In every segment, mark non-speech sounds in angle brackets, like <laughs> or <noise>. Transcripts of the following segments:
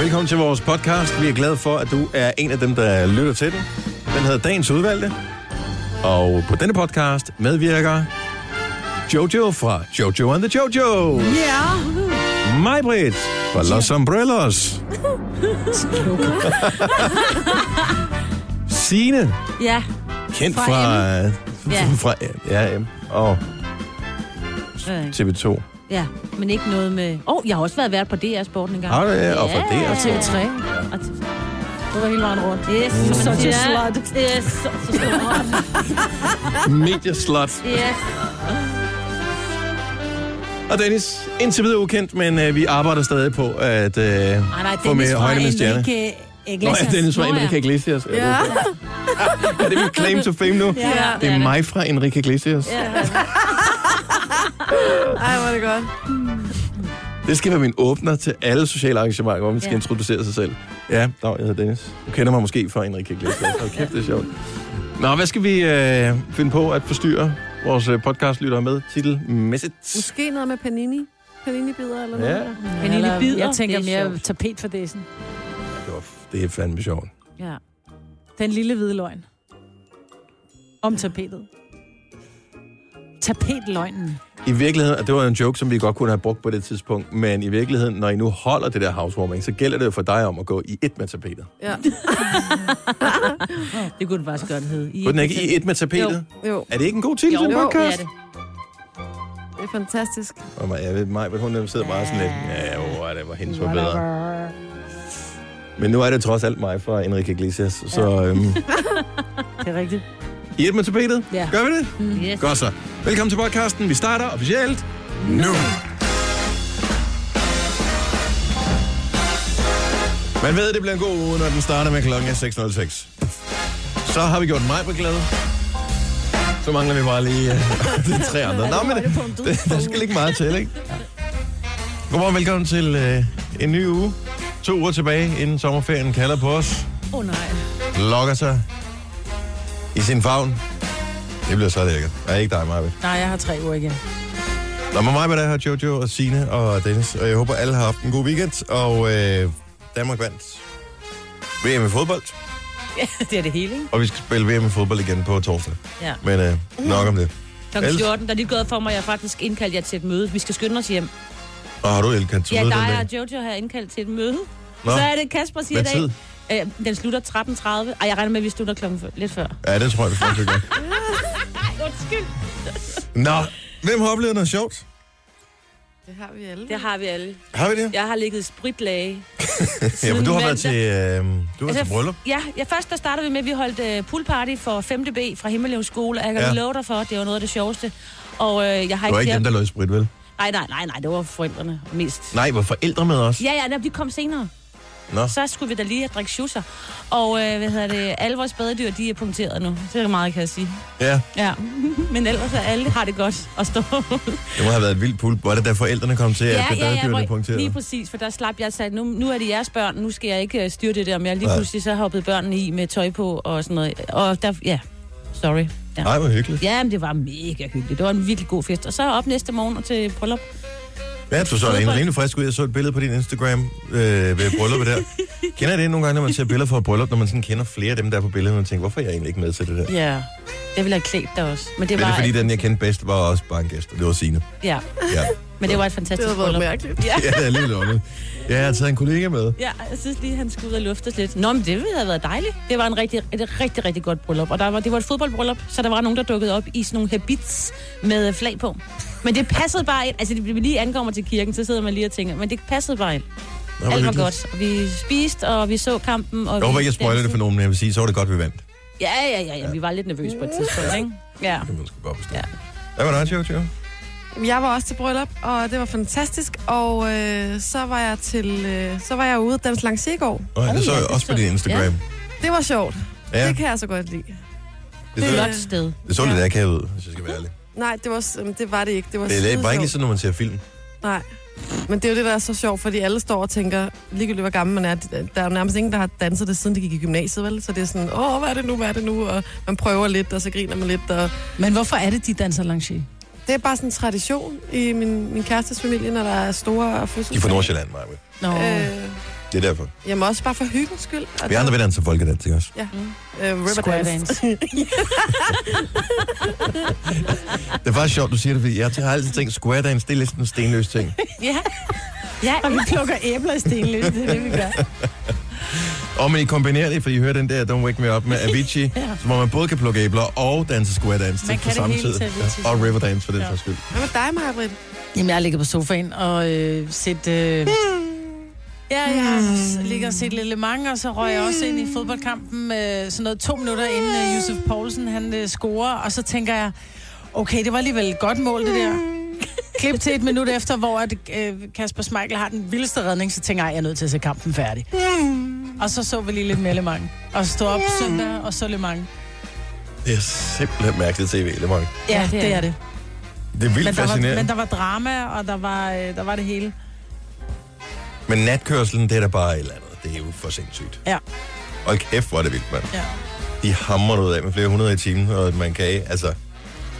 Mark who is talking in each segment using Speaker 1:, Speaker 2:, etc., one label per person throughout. Speaker 1: Velkommen til vores podcast. Vi er glade for, at du er en af dem, der lytter til den. Den hedder Dagens Udvalgte. Og på denne podcast medvirker Jojo fra Jojo and the Jojo.
Speaker 2: Ja.
Speaker 3: <laughs>
Speaker 1: Majbrit fra
Speaker 2: <laughs>
Speaker 1: Los Umbrellos. Sine,
Speaker 2: Ja.
Speaker 1: kendt
Speaker 2: Fra
Speaker 1: fra, fra, <laughs>
Speaker 2: Ja.
Speaker 1: fra ja, M og
Speaker 2: Øh, <laughs>
Speaker 1: TV2.
Speaker 2: Ja, men ikke noget med... Åh, oh, jeg har også været vært på DR Sporten engang.
Speaker 1: Har du det? Og fra det og
Speaker 4: TV3.
Speaker 2: Og t-
Speaker 4: Du var hele vejen rundt.
Speaker 2: Yes, mm.
Speaker 4: Such a slut.
Speaker 2: Yes, så, så slut.
Speaker 1: Medieslot.
Speaker 2: Yes.
Speaker 1: Og Dennis, indtil videre ukendt, men øh, vi arbejder stadig på at øh,
Speaker 2: Ej, nej,
Speaker 1: få med højne med stjerne. Nå, ja, Dennis fra
Speaker 2: Nå, ja.
Speaker 1: Enrique Iglesias. Ja. det er det. Er det mit claim to fame nu?
Speaker 2: <laughs> Ja,
Speaker 1: Det er mig fra Enrique Iglesias.
Speaker 2: Ja.
Speaker 4: Ej, hvor er det godt.
Speaker 1: Det skal være min åbner til alle sociale arrangementer, hvor man skal
Speaker 2: Ja.
Speaker 1: introducere sig selv. Ja, dag, jeg hedder Dennis. Du kender mig måske fra Enrique Iglesias. Hold kæft, det er sjovt. Nå, hvad skal vi øh, finde på at forstyrre vores øh, podcastlyttere med? Titelmæssigt.
Speaker 5: Måske noget med panini. Panini-bider eller
Speaker 1: Ja,
Speaker 5: noget.
Speaker 1: det
Speaker 4: Men
Speaker 2: Eller-
Speaker 4: lille bider,
Speaker 2: jeg tænker mere
Speaker 4: tapet for dessen.
Speaker 1: var, det er fandme sjovt.
Speaker 2: ja.
Speaker 4: Den lille hvide løgn. Om tapetet. Tapetløgnen.
Speaker 1: I virkeligheden, og det var en joke, som vi godt kunne have brugt på det tidspunkt, men i virkeligheden, når I nu holder det der housewarming, så gælder det jo for dig om at gå i et med tapetet.
Speaker 5: Ja.
Speaker 2: Det kunne den faktisk godt hedde. I
Speaker 1: Kunne den ikke i et med
Speaker 2: Jo. <laughs>
Speaker 1: tapetet?
Speaker 5: Jo,
Speaker 1: Er det ikke en god titel til en
Speaker 5: Jo,
Speaker 2: det er
Speaker 1: podcast?
Speaker 2: det.
Speaker 5: det er fantastisk.
Speaker 1: Og mig, jeg ved, mig, men hun sidder bare sådan lidt, ja, hvor er det, hvor hendes var bedre. Men nu er det trods alt mig fra Enrique Iglesias, så ja.
Speaker 4: <laughs>
Speaker 1: øhm,
Speaker 4: Det er rigtigt.
Speaker 1: i et med tapetet,
Speaker 4: Ja.
Speaker 1: gør vi det?
Speaker 3: Mm.
Speaker 2: Yes.
Speaker 1: Godt så. Velkommen til podcasten. Vi starter officielt nu. Man ved, det bliver en god uge, når den starter med klokken er 6.06. Så har vi gjort mig på glæde. Så mangler vi bare lige øh, <laughs> de tre andre. Nå, men det, det, der skal ikke meget til, ikke? Godmorgen, velkommen til øh, en ny uge. To uger tilbage, inden sommerferien kalder på os.
Speaker 4: Åh oh, nej.
Speaker 1: Lokker sig i sin favn. Det bliver så lækkert. Er ikke dig, Marvind?
Speaker 4: Nej, jeg har tre uger igen.
Speaker 1: Nå, med mig med dig her, Jojo og Sine og Dennis. Og jeg håber, alle har haft en god weekend. Og øh, Danmark vandt VM i fodbold.
Speaker 2: det er det hele, ikke?
Speaker 1: Og vi skal spille VM i fodbold igen på torsdag.
Speaker 2: Ja.
Speaker 1: Men øh, nok om det.
Speaker 2: Klokken
Speaker 1: Ellers-
Speaker 2: 14, der er lige gået for mig, jeg har faktisk indkaldt jer til et møde. Vi skal skynde os hjem.
Speaker 1: Og har du elkendt til
Speaker 2: Ja,
Speaker 1: møde den
Speaker 2: dig
Speaker 1: dag?
Speaker 2: og Jojo har indkaldt til et møde.
Speaker 1: Nå,
Speaker 2: Så er det Kasper siger i
Speaker 1: hvad
Speaker 2: dag.
Speaker 1: tid?
Speaker 2: Øh, den slutter 13.30. Ej, jeg regner med, at vi slutter klokken f- lidt før.
Speaker 1: Ja, det tror jeg, vi får
Speaker 2: <laughs>
Speaker 1: det
Speaker 5: <laughs>
Speaker 1: godt.
Speaker 2: Undskyld.
Speaker 1: Nå, hvem har oplevet noget sjovt?
Speaker 5: Det har vi alle.
Speaker 2: Det har vi alle.
Speaker 1: Har vi det?
Speaker 2: Jeg har ligget i spritlage.
Speaker 1: Ja, men
Speaker 2: siden
Speaker 1: du har været
Speaker 2: mandag.
Speaker 1: til, øh, du har været
Speaker 2: Altså,
Speaker 1: til bryllup.
Speaker 2: Ja, ja først der startede vi med, at vi holdt øh, poolparty for 5. B fra Himmelevs skole. Og jeg kan
Speaker 1: Ja.
Speaker 2: ja. love dig for, at det var noget af det sjoveste. Og øh, jeg har
Speaker 1: Du var ikke dem,
Speaker 2: flere-
Speaker 1: der lød sprit, vel?
Speaker 2: Nej, nej, nej, nej, det var forældrene mest.
Speaker 1: Nej, var forældre med os?
Speaker 2: Ja, ja, nej, de kom senere.
Speaker 1: Nå.
Speaker 2: Så skulle vi da lige have drikke schusser. Og øh, hvad hedder det, alle vores badedyr, de er punkteret nu. Så er det meget, kan jeg sige.
Speaker 1: Ja,
Speaker 2: Ja, <laughs> men ellers er alle har det godt at stå.
Speaker 1: det må have været et vildt pul. Var det, da forældrene kom til, at ja, badedyrene ja, ja,
Speaker 2: hvor-
Speaker 1: punkterede?
Speaker 2: lige præcis, for der slap jeg sat. Nu, nu er det jeres børn, nu skal jeg ikke øh, styre det der mere. Lige
Speaker 1: Nej.
Speaker 2: pludselig så hoppede børnene i med tøj på og sådan noget. Og der, ja, sorry. Ja.
Speaker 1: Nej, hvor hyggeligt.
Speaker 2: Ja, men det var mega hyggeligt. Det var en virkelig god fest. Og så op næste morgen og til bryllup.
Speaker 1: Ja, du så da egentlig rimelig frisk ud. Jeg så et billede på din Instagram øh, ved brylluppet
Speaker 2: <laughs>
Speaker 1: der. Kender I det nogle gange, når man ser billeder fra et bryllup, når man sådan kender flere af dem, der er på billedet, og man tænker, hvorfor er jeg egentlig ikke med til det der?
Speaker 2: Ja, jeg ville have klædt dig også. Men det
Speaker 1: Men det
Speaker 2: var,
Speaker 1: er fordi, den jeg kendte bedst, var også bare en gæst, og det var Signe.
Speaker 2: ja,
Speaker 1: Ja,
Speaker 2: men det var et
Speaker 5: Det
Speaker 2: fantastisk
Speaker 5: har været
Speaker 2: bryllup.
Speaker 5: mærkeligt.
Speaker 1: <laughs> ja det er lidt lovligt. Ja, jeg har taget en kollega med.
Speaker 2: Ja, jeg synes lige, han skulle ud og luftes lidt. Nå, men det ville have været dejligt. Det var en rigtig, et rigtig, rigtig godt bryllup. Og der var, det var et fodboldbryllup, så der var nogen, der dukkede op i sådan nogle habits med øh, flag på. Men det passede bare ind. Altså, det vi lige ankommer til kirken, så sidder man lige og tænker, men det passede bare ind.
Speaker 1: Nå, hvor
Speaker 2: Alt var
Speaker 1: hyggeligt.
Speaker 2: godt. Og vi spiste, og vi så kampen. Og
Speaker 1: Jeg håber ikke, jeg spoiler det for
Speaker 2: for
Speaker 1: nogen, men jeg vil sige, så var det godt, vi vandt.
Speaker 2: Ja, ja, ja, ja. Vi var lidt nervøse på et tidspunkt, ikke? Ja.
Speaker 1: Det kan man sgu godt forstå.
Speaker 2: Ja.
Speaker 1: Hvad var det, Jojo?
Speaker 5: Jamen, Jeg var også til bryllup, og det var fantastisk. Og øh, så var jeg til, øh, så var jeg ude at danse langs i går.
Speaker 1: Oh, det
Speaker 2: Oh,
Speaker 1: så
Speaker 2: ja,
Speaker 1: jeg
Speaker 2: det
Speaker 1: også på
Speaker 2: så-
Speaker 1: din Instagram.
Speaker 5: Det var sjovt.
Speaker 1: Ja,
Speaker 5: Ja. Det kan jeg så godt lide.
Speaker 1: det,
Speaker 5: det-
Speaker 1: så,
Speaker 2: Flot sted.
Speaker 1: det så lidt akavet ud, hvis jeg skal være ærlig.
Speaker 5: Nej, det var, s- øhm, det var det ikke. Det var
Speaker 1: Det er bare
Speaker 5: skidesjovt.
Speaker 1: ikke sådan, når man ser film.
Speaker 5: Nej. Men det er jo det, der er så sjovt, fordi alle står og tænker, ligegyldigt hvor gammel man er, de- der er jo nærmest ingen, der har danset det, siden de gik i gymnasiet, vel? Så det er sådan, åh, hvad er det nu, hvad er det nu? Og man prøver lidt, og så griner man lidt, og
Speaker 4: Men hvorfor er det, de danser lanché?
Speaker 5: det er bare sådan en tradition i min, min kærestes familie, når der er store
Speaker 1: De er fra
Speaker 5: fødselsdage.
Speaker 1: Nordsjælland, Maja.
Speaker 4: Nå, øh,
Speaker 5: Øh,
Speaker 1: Det er derfor.
Speaker 5: Jamen også bare for hyggens skyld. Og
Speaker 1: Vi andre vil danse folkedans, ikke også?
Speaker 5: Øh,
Speaker 4: Square
Speaker 5: Riverdance. <laughs>
Speaker 4: dance.
Speaker 1: Det er faktisk sjovt, du siger det, fordi jeg har altid tænkt, square dance, det er lidt sådan en stenløs ting.
Speaker 4: <laughs>
Speaker 2: Ja. Ja,
Speaker 4: Og vi plukker æbler i stenløs, det er det, vi gør.
Speaker 1: Og men I kombinerer det, for I hører den der Don't Wake Me Up med Avicii, ja. så hvor man både kan plukke æbler og danse square dance
Speaker 2: Man
Speaker 1: til
Speaker 2: kan
Speaker 1: på
Speaker 2: det
Speaker 1: samme
Speaker 2: hele
Speaker 1: tid.
Speaker 2: til Avicii.
Speaker 1: Og river dance for den
Speaker 2: Ja.
Speaker 1: sags skyld.
Speaker 5: Hvad med dig, Maja-Brit?
Speaker 4: Jamen, jeg ligger på sofaen og øh, set... Øh, ja, jeg ligger og set Lille Mange, og så røg jeg også ind i fodboldkampen øh, sådan noget to minutter inden øh, Josef Poulsen han øh, scorer, og så tænker jeg, okay, det var alligevel et godt mål, det der. Klip til et minut efter, hvor at, øh, Kasper Schmeichel har den vildeste redning, så tænker jeg, jeg er nødt til at se kampen færdig. Og så så vi lige lidt mere Le Mans. Og stod op søndag og så Le Mans.
Speaker 1: Det er simpelthen mærkeligt tv, det, Mark.
Speaker 4: Ja, ja det er det.
Speaker 1: Det er vildt
Speaker 4: Men der, var,
Speaker 1: fascinerende.
Speaker 4: men der var drama, og der var, øh, der var det hele.
Speaker 1: Men natkørselen, det er da bare et eller andet. Det er jo for sindssygt.
Speaker 4: Ja.
Speaker 1: Og kæft, hvor er det vildt, mand.
Speaker 4: Ja.
Speaker 1: De hammer ud af med flere hundrede i timen, og at man kan... Altså,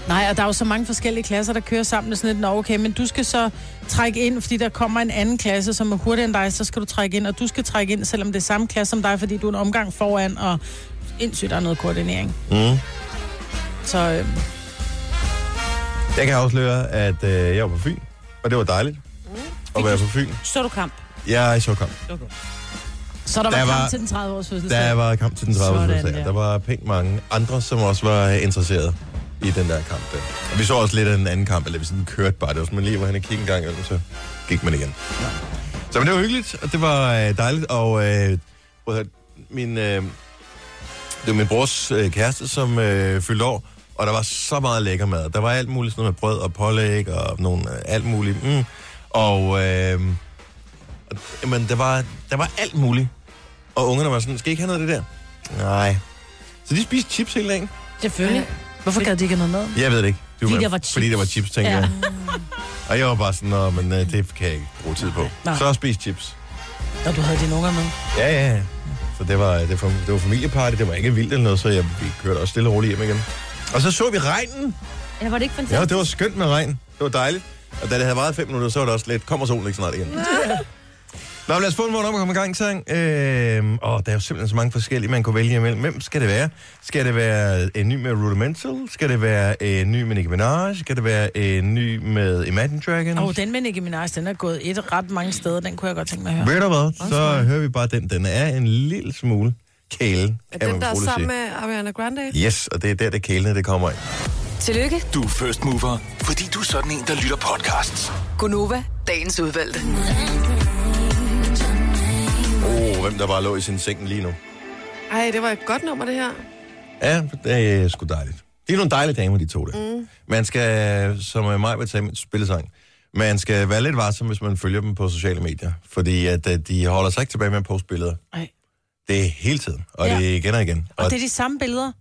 Speaker 4: Nej, og der er jo så mange forskellige klasser, der kører sammen med sådan lidt, nå okay, men du skal så trække ind, fordi der kommer en anden klasse, som er hurtigere end dig, så skal du trække ind, og du skal trække ind, selvom det er samme klasse som dig, fordi du er en omgang foran, og indsygt, der er noget koordinering.
Speaker 1: mm.
Speaker 4: Så øh,
Speaker 1: Jeg kan afsløre, at øh, jeg var på Fyn, og det var dejligt at være på Fyn.
Speaker 2: så du kamp.
Speaker 1: Jeg er i Sjøkamp.
Speaker 4: så der, der
Speaker 1: Der
Speaker 4: var,
Speaker 1: var-
Speaker 4: kamp til den 30 års fødselsdag.
Speaker 1: Der
Speaker 4: Var...
Speaker 1: var kamp til den 30.
Speaker 4: Sådan
Speaker 1: fødselsdag.
Speaker 4: der.
Speaker 1: Der var pænt mange andre, som også var øh, interesseret i den der kamp. Der. Og vi så også lidt af den anden kamp, eller vi sådan kørte bare. Det var sådan, man lige var henne og kigge en gang, og så gik man igen. Så men det var hyggeligt, og det var øh, dejligt. Og øh, prøv at høre, min, øh, det var min brors øh, kæreste, som øh, fyldte år, og der var så meget lækker mad. Der var alt muligt, sådan noget med brød og pålæg og nogle, øh, alt muligt. Mm. Og øh, og- jamen, der, var, der var alt muligt. Og ungerne var sådan, skal I ikke have noget af det der? Nej. Så de spiste chips hele dagen?
Speaker 2: Selvfølgelig.
Speaker 4: Hvorfor gad de ikke have noget med?
Speaker 1: Jeg ved det ikke. Det
Speaker 2: Fordi der var
Speaker 1: Fordi
Speaker 2: chips.
Speaker 1: der var chips, tænker
Speaker 2: Ja.
Speaker 1: ja. jeg. Og jeg var bare sådan, Nå, men øh, det kan jeg ikke bruge tid på.
Speaker 4: Nej.
Speaker 1: Så spiste chips.
Speaker 4: Når du havde dine unger med.
Speaker 1: Ja, ja, ja. Så det var, det, var, det var familieparty, det var ikke vildt eller noget, så jeg, vi kørte også stille og roligt hjem igen. Og så så vi regnen.
Speaker 2: Ja, var det ikke fantastisk?
Speaker 1: Ja, det var skønt med regn. Det var dejligt. Og da det havde varet fem minutter, så var det også lidt, kommer solen ikke snart igen. Nå, men lad os få en morgen om at komme i gang, sang. Øhm, og der er jo simpelthen så mange forskellige, man kunne vælge imellem. Hvem skal det være? Skal det være en ny med Rudimental? Skal det være en ny med Nicki Minaj? Skal det være en ny med Imagine Dragons?
Speaker 4: Åh, oh, den med Nicki Minaj, den er gået et ret mange steder, den kunne jeg godt tænke mig at høre.
Speaker 1: Ved du hvad? Så hører vi bare den. Den er en lille smule kælen,
Speaker 5: Er
Speaker 1: kan
Speaker 5: den,
Speaker 1: man
Speaker 5: der er
Speaker 1: roligt
Speaker 5: sammen
Speaker 1: sige.
Speaker 5: med Ariana Grande?
Speaker 1: Yes, og det er der, det kælende, det kommer ind.
Speaker 6: Tillykke,
Speaker 7: Du er first mover, fordi du er sådan en, der lytter podcasts.
Speaker 6: Gunova, dagens udvalgte.
Speaker 1: Åh, oh, hvem der bare lå i sin seng lige nu.
Speaker 5: Ej, det var et godt nummer, det her.
Speaker 1: Ja, det er sgu dejligt. Det er nogle dejlige damer, de to der. Mm. Man skal, som øh, mig vil tage med spillesang, man skal være lidt varsom, hvis man følger dem på sociale medier, fordi at, øh, de holder sig ikke tilbage med at poste billeder.
Speaker 4: Ej.
Speaker 1: Det er hele tiden, og
Speaker 4: Ja.
Speaker 1: ja. det er igen og igen.
Speaker 4: Og det er de samme billeder.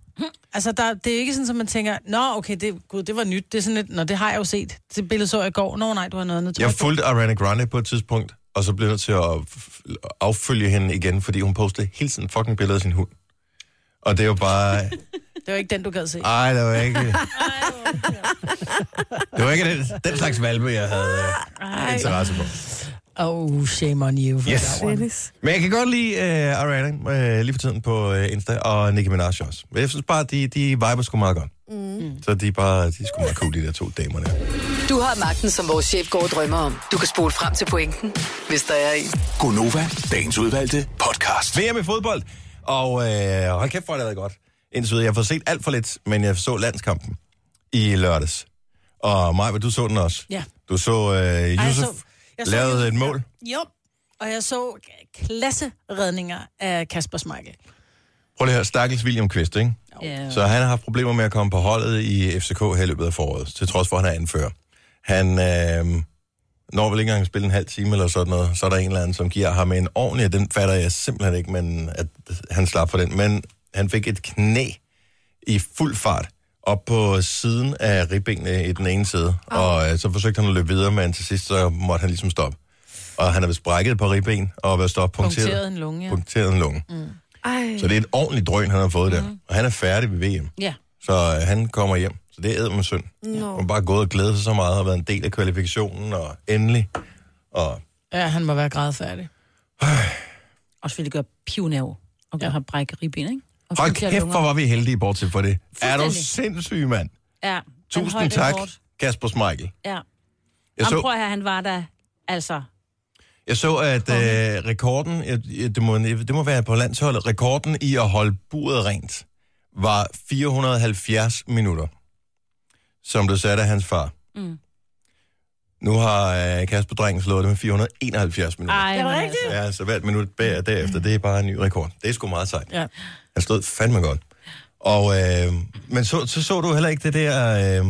Speaker 4: Altså, der, det er ikke sådan, at man tænker, nå, okay, det, gud, det var nyt. Det er sådan lidt, nå, det har jeg jo set. Det billede så jeg i går. Nå, nej, du har noget andet. tøj
Speaker 1: Jeg
Speaker 4: på."
Speaker 1: fulgte Ariana Grande på et tidspunkt, og så blev jeg nødt til at f- affølge hende igen, fordi hun postede hele tiden fucking billeder af sin hund. Og det var bare...
Speaker 4: Det var ikke den, du gad se.
Speaker 1: Ej, det var
Speaker 4: <laughs>
Speaker 1: ikke... det var ikke den, den slags valpe, jeg havde
Speaker 4: Ah,
Speaker 1: øh, interesse for.
Speaker 4: Oh, shame on you. For
Speaker 1: Yes.
Speaker 4: that one.
Speaker 1: Men jeg kan godt lide uh, Ariana uh, lige for tiden på uh, Insta, og Nicki Minaj også. Men Jeg synes bare, de, de viber sgu meget godt. Mm. Så de er, bare, de er sgu meget cool, de der to damer der.
Speaker 6: Du har magten, som vores chef går og drømmer om. Du kan spole frem til pointen, hvis der er en.
Speaker 7: Gonova, dagens udvalgte podcast.
Speaker 1: VM i fodbold, og øh, hold kæft, hvor har det været godt. Indtil videre. jeg har fået set alt for lidt, men jeg så landskampen i lørdags. Og Maja, du så den også.
Speaker 4: Ja.
Speaker 1: Du så øh,
Speaker 4: Ej, jeg
Speaker 1: Josef
Speaker 4: så- jeg så-
Speaker 1: lavede et mål.
Speaker 4: Jo, og jeg så k- klasseredninger af Kasper Schmeichel.
Speaker 1: Prøv lige at høre, stakkels William Kvist, ikke?
Speaker 2: Ja.
Speaker 1: Så han har haft problemer med at komme på holdet i FCK her i løbet af foråret, til trods for, at han er anfører. Han øh, når vel ikke engang at spille en halv time eller sådan noget, så er der en eller anden, som giver ham en ordentlig, den fatter jeg simpelthen ikke, men at han slap for den. Men han fik et knæ i fuld fart op på siden af ribbenene i den ene side, og øh, så forsøgte han at løbe videre, men til sidst så måtte han ligesom stoppe. Og han er vist brækket på ribben og været stoppunkteret.
Speaker 4: Punkteret en lunge, ja.
Speaker 1: Punkteret en lunge. Mm.
Speaker 5: Ej,
Speaker 1: Så det er et ordentligt drøn, han har fået mm. der. Og han er færdig ved VM.
Speaker 2: Ja.
Speaker 1: Så øh, han kommer hjem. Så det er med synd.
Speaker 5: nå.
Speaker 1: Hun har bare gået og glædet sig så meget, og været en del af kvalifikationen, og endelig. Og
Speaker 4: Ja, han må være grædfærdig.
Speaker 2: Også fordi det gør pivnerve og ja. har brækket ribben, ikke? Og
Speaker 1: Hold
Speaker 2: punkterer
Speaker 1: kæft,
Speaker 2: lunger.
Speaker 1: hvor var vi heldige bortset for det. Er du
Speaker 2: Fuldstændig.
Speaker 1: sindssyg, mand?
Speaker 2: Ja, men højde
Speaker 1: Tusind
Speaker 2: er
Speaker 1: tak,
Speaker 2: hårdt.
Speaker 1: Kasper Smeichel.
Speaker 2: Ja.
Speaker 1: Jeg
Speaker 2: Jamen, prøv
Speaker 1: så,
Speaker 2: at høre, han var der, altså...
Speaker 1: jeg så at øh, rekorden, jeg, jeg, det, må, det må være på landsholdet, rekorden i at holde buret rent, var 470 minutter, som blev sat af hans far.
Speaker 2: Mm.
Speaker 1: Nu har øh, Kasper Drengen slået det med 471 minutter.
Speaker 2: Ej, er det rigtigt?
Speaker 1: Ja, så hvert minut bag derefter, det er bare en ny rekord. Det er sgu meget sejt.
Speaker 4: Ja.
Speaker 1: Han stod fandme godt. Og, øh, men så, så så du heller ikke det der... Øh,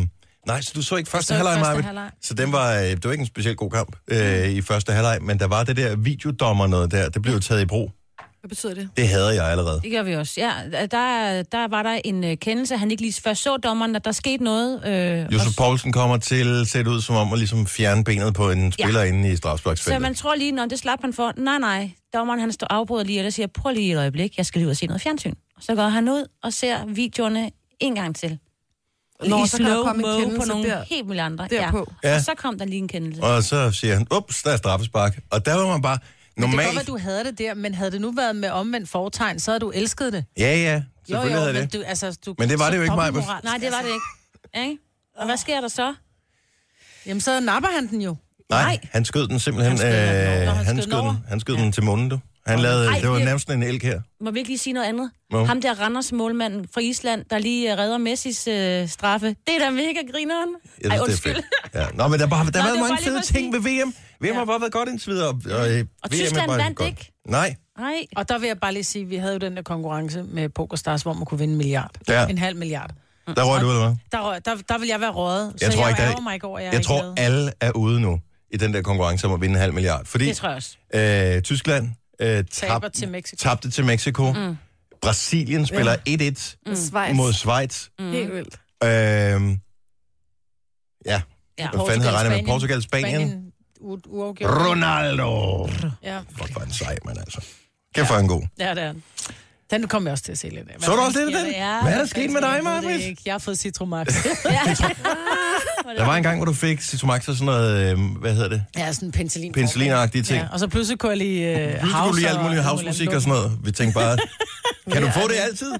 Speaker 1: nej, så du så ikke første
Speaker 4: ikke
Speaker 1: halvleg,
Speaker 4: første
Speaker 1: Marvind.
Speaker 4: halvleg.
Speaker 1: Så den var, øh, det var ikke en specielt god kamp øh,
Speaker 2: Mm.
Speaker 1: i første halvleg, men der var det der videodommer noget der, det blev jo taget i brug.
Speaker 5: Hvad betyder det?
Speaker 1: Det havde jeg allerede.
Speaker 2: Det gør vi også. Ja, der, der var der en øh, kendelse, han ikke lige først så dommeren, at der skete noget. Øh,
Speaker 1: Josef
Speaker 2: og-
Speaker 1: Poulsen kommer til at se det ud som om at ligesom fjerne benet på en spiller ja. inde i
Speaker 2: Så
Speaker 1: strafsparksfeltet.
Speaker 2: man tror lige, når det slap han for, nej, nej, dommeren han står afbryder lige, og der siger, prøv lige et øjeblik, jeg skal lige ud og se noget fjernsyn. Så går han ud og ser videoerne en gang til.
Speaker 5: Nå,
Speaker 2: I
Speaker 5: så kan der komme en
Speaker 2: slow-mo på
Speaker 5: kendelse
Speaker 2: nogle
Speaker 5: der-
Speaker 2: helt vildt andre.
Speaker 5: derpå.
Speaker 2: Ja.
Speaker 1: Ja.
Speaker 2: Og så kom der lige en kendelse.
Speaker 1: Og så siger han, ups, der er straffespark. Og der var man bare
Speaker 4: Det kan godt være,
Speaker 1: normalt...
Speaker 4: du havde det der, men havde det nu været med omvendt fortegn, så havde du elsket det.
Speaker 1: Ja, ja, selvfølgelig havde jeg
Speaker 4: men
Speaker 1: det.
Speaker 4: du, altså, du,
Speaker 1: Men det
Speaker 4: så
Speaker 1: var
Speaker 4: altså.
Speaker 1: det jo ikke, Maja.
Speaker 4: dobbeltmoral.
Speaker 2: Nej, det var det ikke. ikke. Og hvad sker der så?
Speaker 4: Jamen, så napper han den jo.
Speaker 1: Nej,
Speaker 2: Nej.
Speaker 1: han skød den simpelthen.
Speaker 4: Han skød den over.
Speaker 1: øh,
Speaker 4: Nå,
Speaker 1: Han
Speaker 4: han skød
Speaker 1: skød
Speaker 4: den over.
Speaker 1: den, han skød den til munden, du. Han lavede,
Speaker 2: Ej,
Speaker 1: det var
Speaker 2: det-
Speaker 1: nærmest en elk her.
Speaker 2: Må vi ikke lige sige noget andet?
Speaker 1: Jo.
Speaker 2: Ham der Randers målmand fra Island, der lige øh, redder Messis øh, straffe. Det er da mega grineren.
Speaker 1: Jeg synes, det er fedt. Ja. Nå, men der, bare, der
Speaker 2: var
Speaker 1: har
Speaker 2: bare
Speaker 1: været mange
Speaker 2: lige
Speaker 1: fede
Speaker 2: for at
Speaker 1: ting ved VM. VM har bare været godt indtil videre. Og, og,
Speaker 4: Mm.
Speaker 1: øh,
Speaker 2: Og
Speaker 1: VM er
Speaker 2: Tyskland
Speaker 1: bare
Speaker 2: vandt
Speaker 1: godt.
Speaker 2: ikke.
Speaker 1: Nej,
Speaker 2: Nej.
Speaker 4: Og der vil jeg bare lige sige, at vi havde jo den der konkurrence med PokerStars, hvor man kunne vinde en milliard.
Speaker 1: Ja.
Speaker 4: En halv milliard.
Speaker 1: der røg du ud, eller hvad?
Speaker 4: Der, røg- der, der vil jeg være røget, så
Speaker 1: Jeg tror
Speaker 4: Mm. jeg
Speaker 1: ikke, der-
Speaker 4: ærger mig ikke over, at jeg,
Speaker 1: Jeg
Speaker 4: ikke
Speaker 1: tror,
Speaker 4: lavede.
Speaker 1: alle er ude nu i den der konkurrence om at vinde en halv milliard. Fordi
Speaker 2: Det tror jeg også.
Speaker 1: øh, Tyskland øh, tab,
Speaker 4: til Mexico.
Speaker 1: tabte til Mexico. Mm. Brasilien spiller 1-1
Speaker 5: Mm. Schweiz.
Speaker 1: mod Schweiz.
Speaker 5: Mm. Helt vildt.
Speaker 1: Øh, ja,
Speaker 2: Ja.
Speaker 1: hvad fanden havde jeg regnet med? Portugal, Spanien.
Speaker 4: U- uafgjort.
Speaker 1: Ronaldo!
Speaker 4: Ja.
Speaker 1: Fuck, hvor er den sej, mand, altså. Kæft for en god.
Speaker 4: ja, det er den. Den kom jeg også til at se lidt af.
Speaker 1: Så du også lidt af den?
Speaker 4: Ja,
Speaker 1: Hvad er der sket med dig,
Speaker 4: jeg ved det
Speaker 1: Marvitt?
Speaker 4: ikke. Jeg har fået
Speaker 1: <laughs>
Speaker 4: Citromax.
Speaker 1: Der var en gang, hvor du fik Citromax og sådan noget, øh, hvad hedder det?
Speaker 4: ja, sådan en penicillin.
Speaker 1: Penicillinagtige ting.
Speaker 4: Ja, og så pludselig kunne jeg lige øh,
Speaker 1: Nu skulle du lige alt
Speaker 4: og-
Speaker 1: muligt housemusik og sådan noget. Vi tænkte
Speaker 4: <laughs>
Speaker 1: bare, kan du få det altid?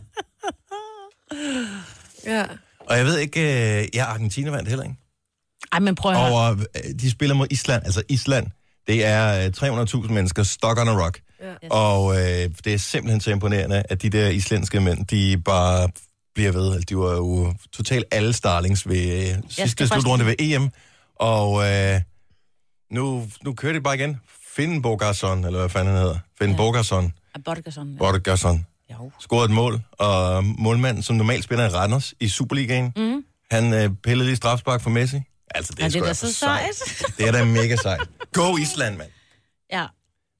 Speaker 5: Ja.
Speaker 1: Og jeg ved ikke, øh, ja, Argentina vandt heller ikke.
Speaker 2: Ej, men prøv at høre.
Speaker 1: Og øh, de spiller mod Island, altså Island. Det er øh, 300.000 mennesker, stock on a rock.
Speaker 5: Ja.
Speaker 1: Og øh, det er simpelthen så imponerende, at de der islandske mænd, de bare bliver ved. Altså, De var jo totalt alle starlings ved øh, sidste
Speaker 2: skal faktisk-
Speaker 1: slutrunde ved EM. Og øh, nu, nu kører det bare igen. Finn Bogason, eller hvad fanden han hedder. Finn ja. Bogason,
Speaker 2: Ej, Bodgerson.
Speaker 1: Bogason,
Speaker 2: Jo.
Speaker 1: scorede et mål. Og målmanden, som normalt spiller i Randers i Superligaen,
Speaker 4: Mhm.
Speaker 1: mm. han øh, pillede lige strafspark for Messi. Altså, det er,
Speaker 2: Ja,
Speaker 1: ja,
Speaker 2: det er
Speaker 1: sgu
Speaker 2: da
Speaker 1: da
Speaker 2: så
Speaker 1: for sejt.
Speaker 2: sejt. <laughs>
Speaker 1: Det er da mega sejt. Go Island, mand.
Speaker 2: Ja.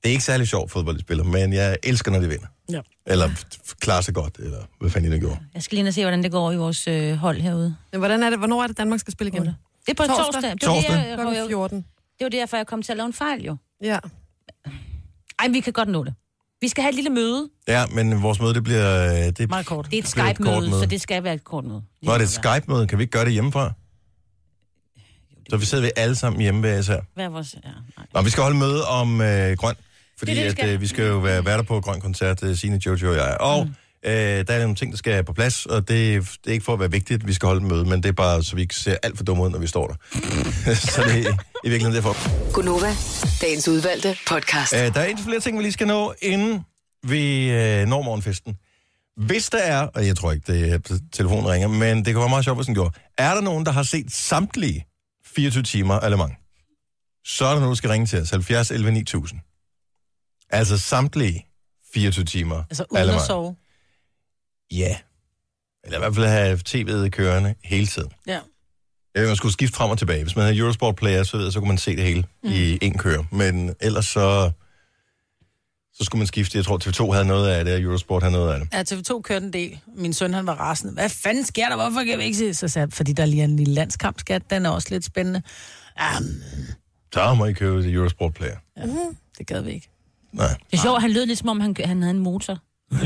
Speaker 1: Det er ikke særlig sjovt fodboldspiller, men jeg elsker, når de vinder.
Speaker 4: Ja.
Speaker 1: Eller f- f- klarer sig godt, eller hvad fanden de nu gjorde.
Speaker 2: Jeg skal lige ind og se, hvordan det går i vores øh, hold herude.
Speaker 5: Men hvordan er det? Hvornår er det, Danmark skal spille igen?
Speaker 2: Det er på
Speaker 5: Torsdag.
Speaker 2: torsdag. torsdag. Det, var
Speaker 1: Torsdag.
Speaker 2: Det, jeg,
Speaker 5: Klokken
Speaker 2: jeg, jeg,
Speaker 5: 14.
Speaker 2: det var derfor, jeg kom til at lave en fejl, jo.
Speaker 5: Ja.
Speaker 2: Ej, vi kan godt nå det. Vi skal have et lille møde.
Speaker 1: Ja, men vores møde, det bliver... øh, Det,
Speaker 4: Meget kort.
Speaker 2: Det er et
Speaker 1: bliver et kort
Speaker 2: Skype-møde,
Speaker 1: møde.
Speaker 2: så det skal være et kort møde.
Speaker 1: Nå, er det et Skype-møde? Kan vi ikke gøre det hjemmefra? Så vi sidder vi alle sammen hjemme ved os her.
Speaker 2: Hvad er vores... Ja, nej.
Speaker 1: Nå, vi skal holde møde om øh, grøn. Fordi
Speaker 2: Det er det, vi
Speaker 1: det,
Speaker 2: skal.
Speaker 1: at, øh, vi skal jo være værter på grøn koncert, øh, Signe, Jojo og jeg. Og mm. øh, der er nogle ting, der skal på plads, og det, det er ikke for at være vigtigt, at vi skal holde et møde, men det er bare, så vi ikke ser alt for dumme ud, når vi står der. <laughs> så det er i virkeligheden derfor.
Speaker 6: Gunova, dagens udvalgte podcast.
Speaker 1: Øh, der er indtil flere ting, vi lige skal nå, inden vi øh, når morgenfesten. Hvis der er, og jeg tror ikke, det er, telefonen ringer, men det kan være meget sjovt, hvis den gjorde. Er der nogen, der har set samtlige 24 timer eller mange? Så er der nogen, der skal ringe til os. 70 11 9000. Altså samtlige 24 timer.
Speaker 4: Altså uden at
Speaker 1: Allemann.
Speaker 4: sove.
Speaker 1: Ja. Eller i hvert fald have tv'et kørende hele tiden.
Speaker 4: Ja.
Speaker 1: Øh, man skulle skifte frem og tilbage. Hvis man havde Eurosport Player, så, videre, så kunne man se det hele mm. i en køre. Men ellers så, så skulle man skifte. Jeg tror, TV2 havde noget af det, og Eurosport havde noget af det.
Speaker 4: Ja, TV2 kørte en del. Min søn, han var rasende. Hvad fanden sker der? Hvorfor kan vi ikke se? Så sagde jeg, fordi der lige er en lille landskamp, skat. Den er også lidt spændende. Um,
Speaker 1: Så "Ah, må I købe det Eurosport Player.
Speaker 5: Mhm.
Speaker 4: det gad vi
Speaker 1: <laughs>
Speaker 4: ikke.
Speaker 1: Nej.
Speaker 2: Det er sjovt, han lød lidt som om, han, han havde en motor. <laughs>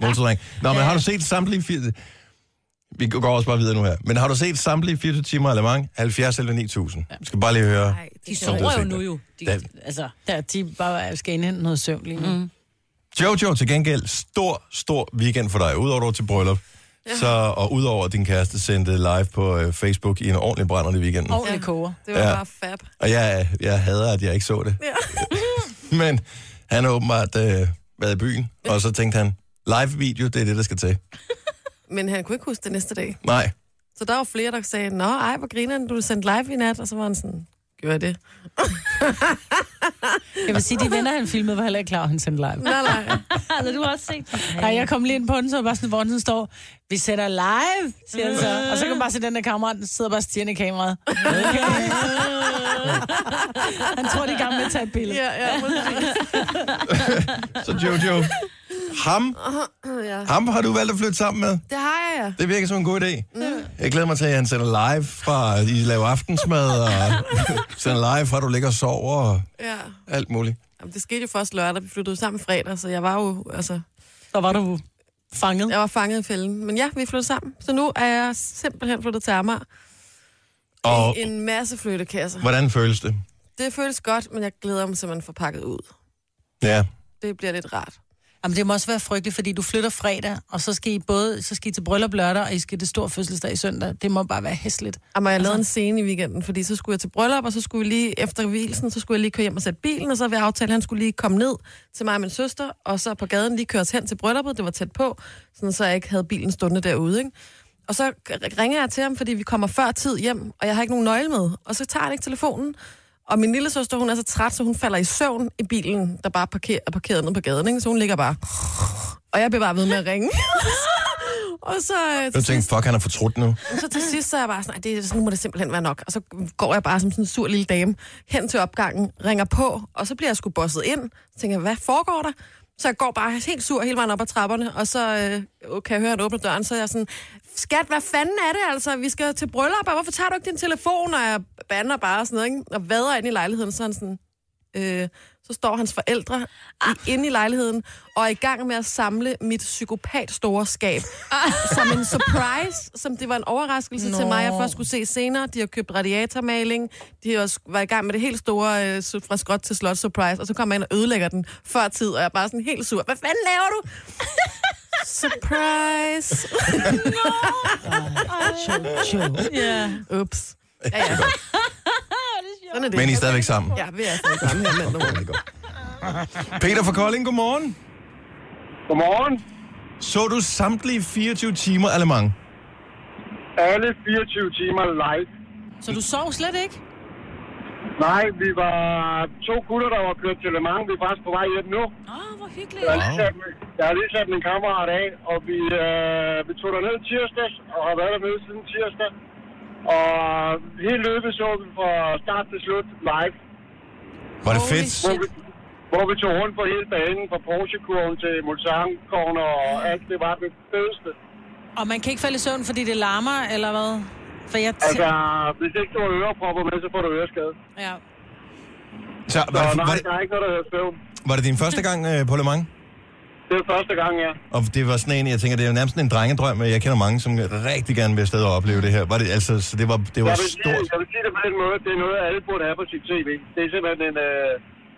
Speaker 1: Motorring. Nå, men har du set samtlige... Fire... Vi går også bare videre nu her. Men har du set samtlige 24 timer af Le Mans? 70 eller 9000? Ja. Skal bare lige høre.
Speaker 5: Nej,
Speaker 2: De
Speaker 5: det
Speaker 1: Som du
Speaker 2: sover
Speaker 1: har
Speaker 2: jo
Speaker 1: set
Speaker 2: nu
Speaker 1: det.
Speaker 2: jo. De,
Speaker 1: Den-
Speaker 2: altså, Mhm.
Speaker 4: Der, de bare skal indhente noget søvn lige nu. Mm.
Speaker 1: Jojo, til gengæld, stor, stor weekend for dig. Udover at du var til bryllup, ja. så, og udover at din kæreste sendte live på øh, Facebook i en ordentlig brændende weekend. Oh.
Speaker 4: Ordentligt koger.
Speaker 5: Det var
Speaker 1: Ja.
Speaker 5: ja. bare fab.
Speaker 1: Og jeg, jeg hader, at jeg ikke så det. <laughs>
Speaker 4: <laughs>
Speaker 1: Ja. Men han har åbenbart øh, været i byen, og så tænkte han, live-video, det er det, der skal til.
Speaker 5: Men han kunne ikke huske det næste dag.
Speaker 1: Nej,
Speaker 5: Så der var flere, der sagde, Nå, ej, hvor grineren, du sendte live i nat. Og så var han sådan, gjorde jeg det?
Speaker 4: <laughs> Jeg vil sige, de venner, han filmede, var heller ikke klar, at han sendte live. <laughs>
Speaker 5: Nej, nej.
Speaker 2: altså, du har også set.
Speaker 4: Nej, jeg kom lige ind på den, så var bare sådan, hvor den sådan står, vi sætter live, siger han
Speaker 5: Mm.
Speaker 4: så. Og så kan man bare se den der kammerat, der sidder bare og stirrende i kameraet. Okay. <laughs> han tror, de er i gang med at tage et billede.
Speaker 5: Ja, ja, præcis.
Speaker 1: så Jojo. Ham,
Speaker 5: ja.
Speaker 1: ham har du valgt at flytte sammen med.
Speaker 5: Det har jeg, ja. Mm.
Speaker 1: Det virker som en god idé. Jeg glæder mig til, at han sender live fra, at I laver aftensmad, og <laughs> sender live fra, at du ligger og sover, og
Speaker 5: ja.
Speaker 1: alt muligt.
Speaker 5: Jamen, det skete jo først lørdag, vi flyttede sammen fredag, så jeg var jo, altså,
Speaker 4: Så var du fanget.
Speaker 5: jeg var fanget i fælden. Men ja, vi flyttede sammen, så nu er jeg simpelthen flyttet til Amager.
Speaker 1: Og
Speaker 5: I en masse flyttekasser.
Speaker 1: hvordan føles det?
Speaker 5: Det føles godt, men jeg glæder mig simpelthen for pakket ud.
Speaker 1: Ja.
Speaker 5: Det bliver lidt rart.
Speaker 4: Jamen, det må også være frygteligt, fordi du flytter fredag, og så skal I både så skal I til bryllup lørdag, og I skal til stor fødselsdag i søndag. Det må bare være hæsligt. Altså-
Speaker 5: Jamen, Ah, jeg lavede en scene i weekenden, fordi så skulle jeg til bryllup, og så skulle vi lige efter hvilsen, så skulle jeg lige køre hjem og sætte bilen, og så ved aftale, at han skulle lige komme ned til mig og min søster, og så på gaden lige køres hen til brylluppet, det var tæt på, sådan så jeg ikke havde bilen stående derude, ikke? Og så ringer jeg til ham, fordi vi kommer før tid hjem, og jeg har ikke nogen nøgle med, og så tager han ikke telefonen, og min lille søster, hun er så træt, så hun falder i søvn i bilen, der bare parker, er parkeret nede på gaden, ikke? Så hun ligger bare... Og jeg bliver bare ved med at ringe. <laughs> og så... øh, til
Speaker 1: Jeg tænkte, fuck, han er fortrudt nu.
Speaker 5: så til sidst, så er jeg bare sådan, "Ej, det, er- nu må det simpelthen være nok. Og så går jeg bare som sådan en sur lille dame hen til opgangen, ringer på, og så bliver jeg sgu bosset ind. Så tænker jeg, hvad foregår der? Så jeg går bare helt sur hele vejen op ad trapperne, og så øh, kan jeg høre, at han åbner døren, så er jeg sådan, skat, hvad fanden er det altså? Vi skal til bryllup, og hvorfor tager du ikke din telefon? Og jeg bander bare og sådan noget, ikke? og vader ind i lejligheden, så er han sådan, øh, så står hans forældre i, inde i lejligheden og er i gang med at samle mit psykopat store skab. Som en surprise, som det var en overraskelse Nå. til mig, jeg først skulle se senere. De har købt radiatormaling, de har også var i gang med det helt store øh, så- fra skråt til slot surprise, og så kommer jeg ind og ødelægger den før tid, og jeg er bare sådan helt sur. Hvad fanden laver du? Surprise!
Speaker 2: Ja.
Speaker 5: Ups. Ja, ja. Sådan er det.
Speaker 1: Men I er stadigvæk sammen.
Speaker 5: Ja, vi er stadig sammen her
Speaker 1: <laughs>
Speaker 5: mand.
Speaker 1: Peter fra Kolding, godmorgen.
Speaker 8: Godmorgen.
Speaker 1: Så du samtlige 24 timer allemang?
Speaker 8: Alle 24 timer live.
Speaker 4: Så du sov slet ikke?
Speaker 8: Nej, vi var to gutter, der var kørt til Le Mans. Vi er faktisk på vej hjem nu.
Speaker 2: Åh,
Speaker 3: Ah,
Speaker 2: oh, hvor hyggeligt.
Speaker 8: Jeg har lige sat, min- jeg har lige sat min kammerat af, og vi, øh, vi tog derned tirsdags, og har været dernede siden tirsdag. Og hele løbet så vi fra start til slut live,
Speaker 1: Var det
Speaker 4: Holy
Speaker 1: fedt?
Speaker 8: hvor vi, hvor vi tog rundt på hele banen, fra Porsche-kurven til Mulsanne-kurven, og alt det var det fedeste.
Speaker 4: Og man kan ikke falde i søvn, fordi det larmer, eller hvad? For jeg tæ-
Speaker 8: Altså, hvis ikke du har ørepropper med, så får du øreskade.
Speaker 4: ja.
Speaker 1: Så,
Speaker 8: Så
Speaker 1: var, det,
Speaker 8: nej,
Speaker 1: var, det,
Speaker 8: der er ikke noget, der hedder søvn.
Speaker 1: var det din første gang øh, på Le Mans?
Speaker 8: Det er første gang, ja.
Speaker 1: Og det var sådan en, jeg tænker, det er jo nærmest sådan en drengedrøm, men jeg kender mange, som rigtig gerne vil afsted og opleve det her. Var det, altså, så det var, det var
Speaker 8: Jeg vil, sige,
Speaker 1: stort.
Speaker 8: jeg vil sige det på den måde, at det er noget, alle burde have på sit tv. Det er simpelthen en øh,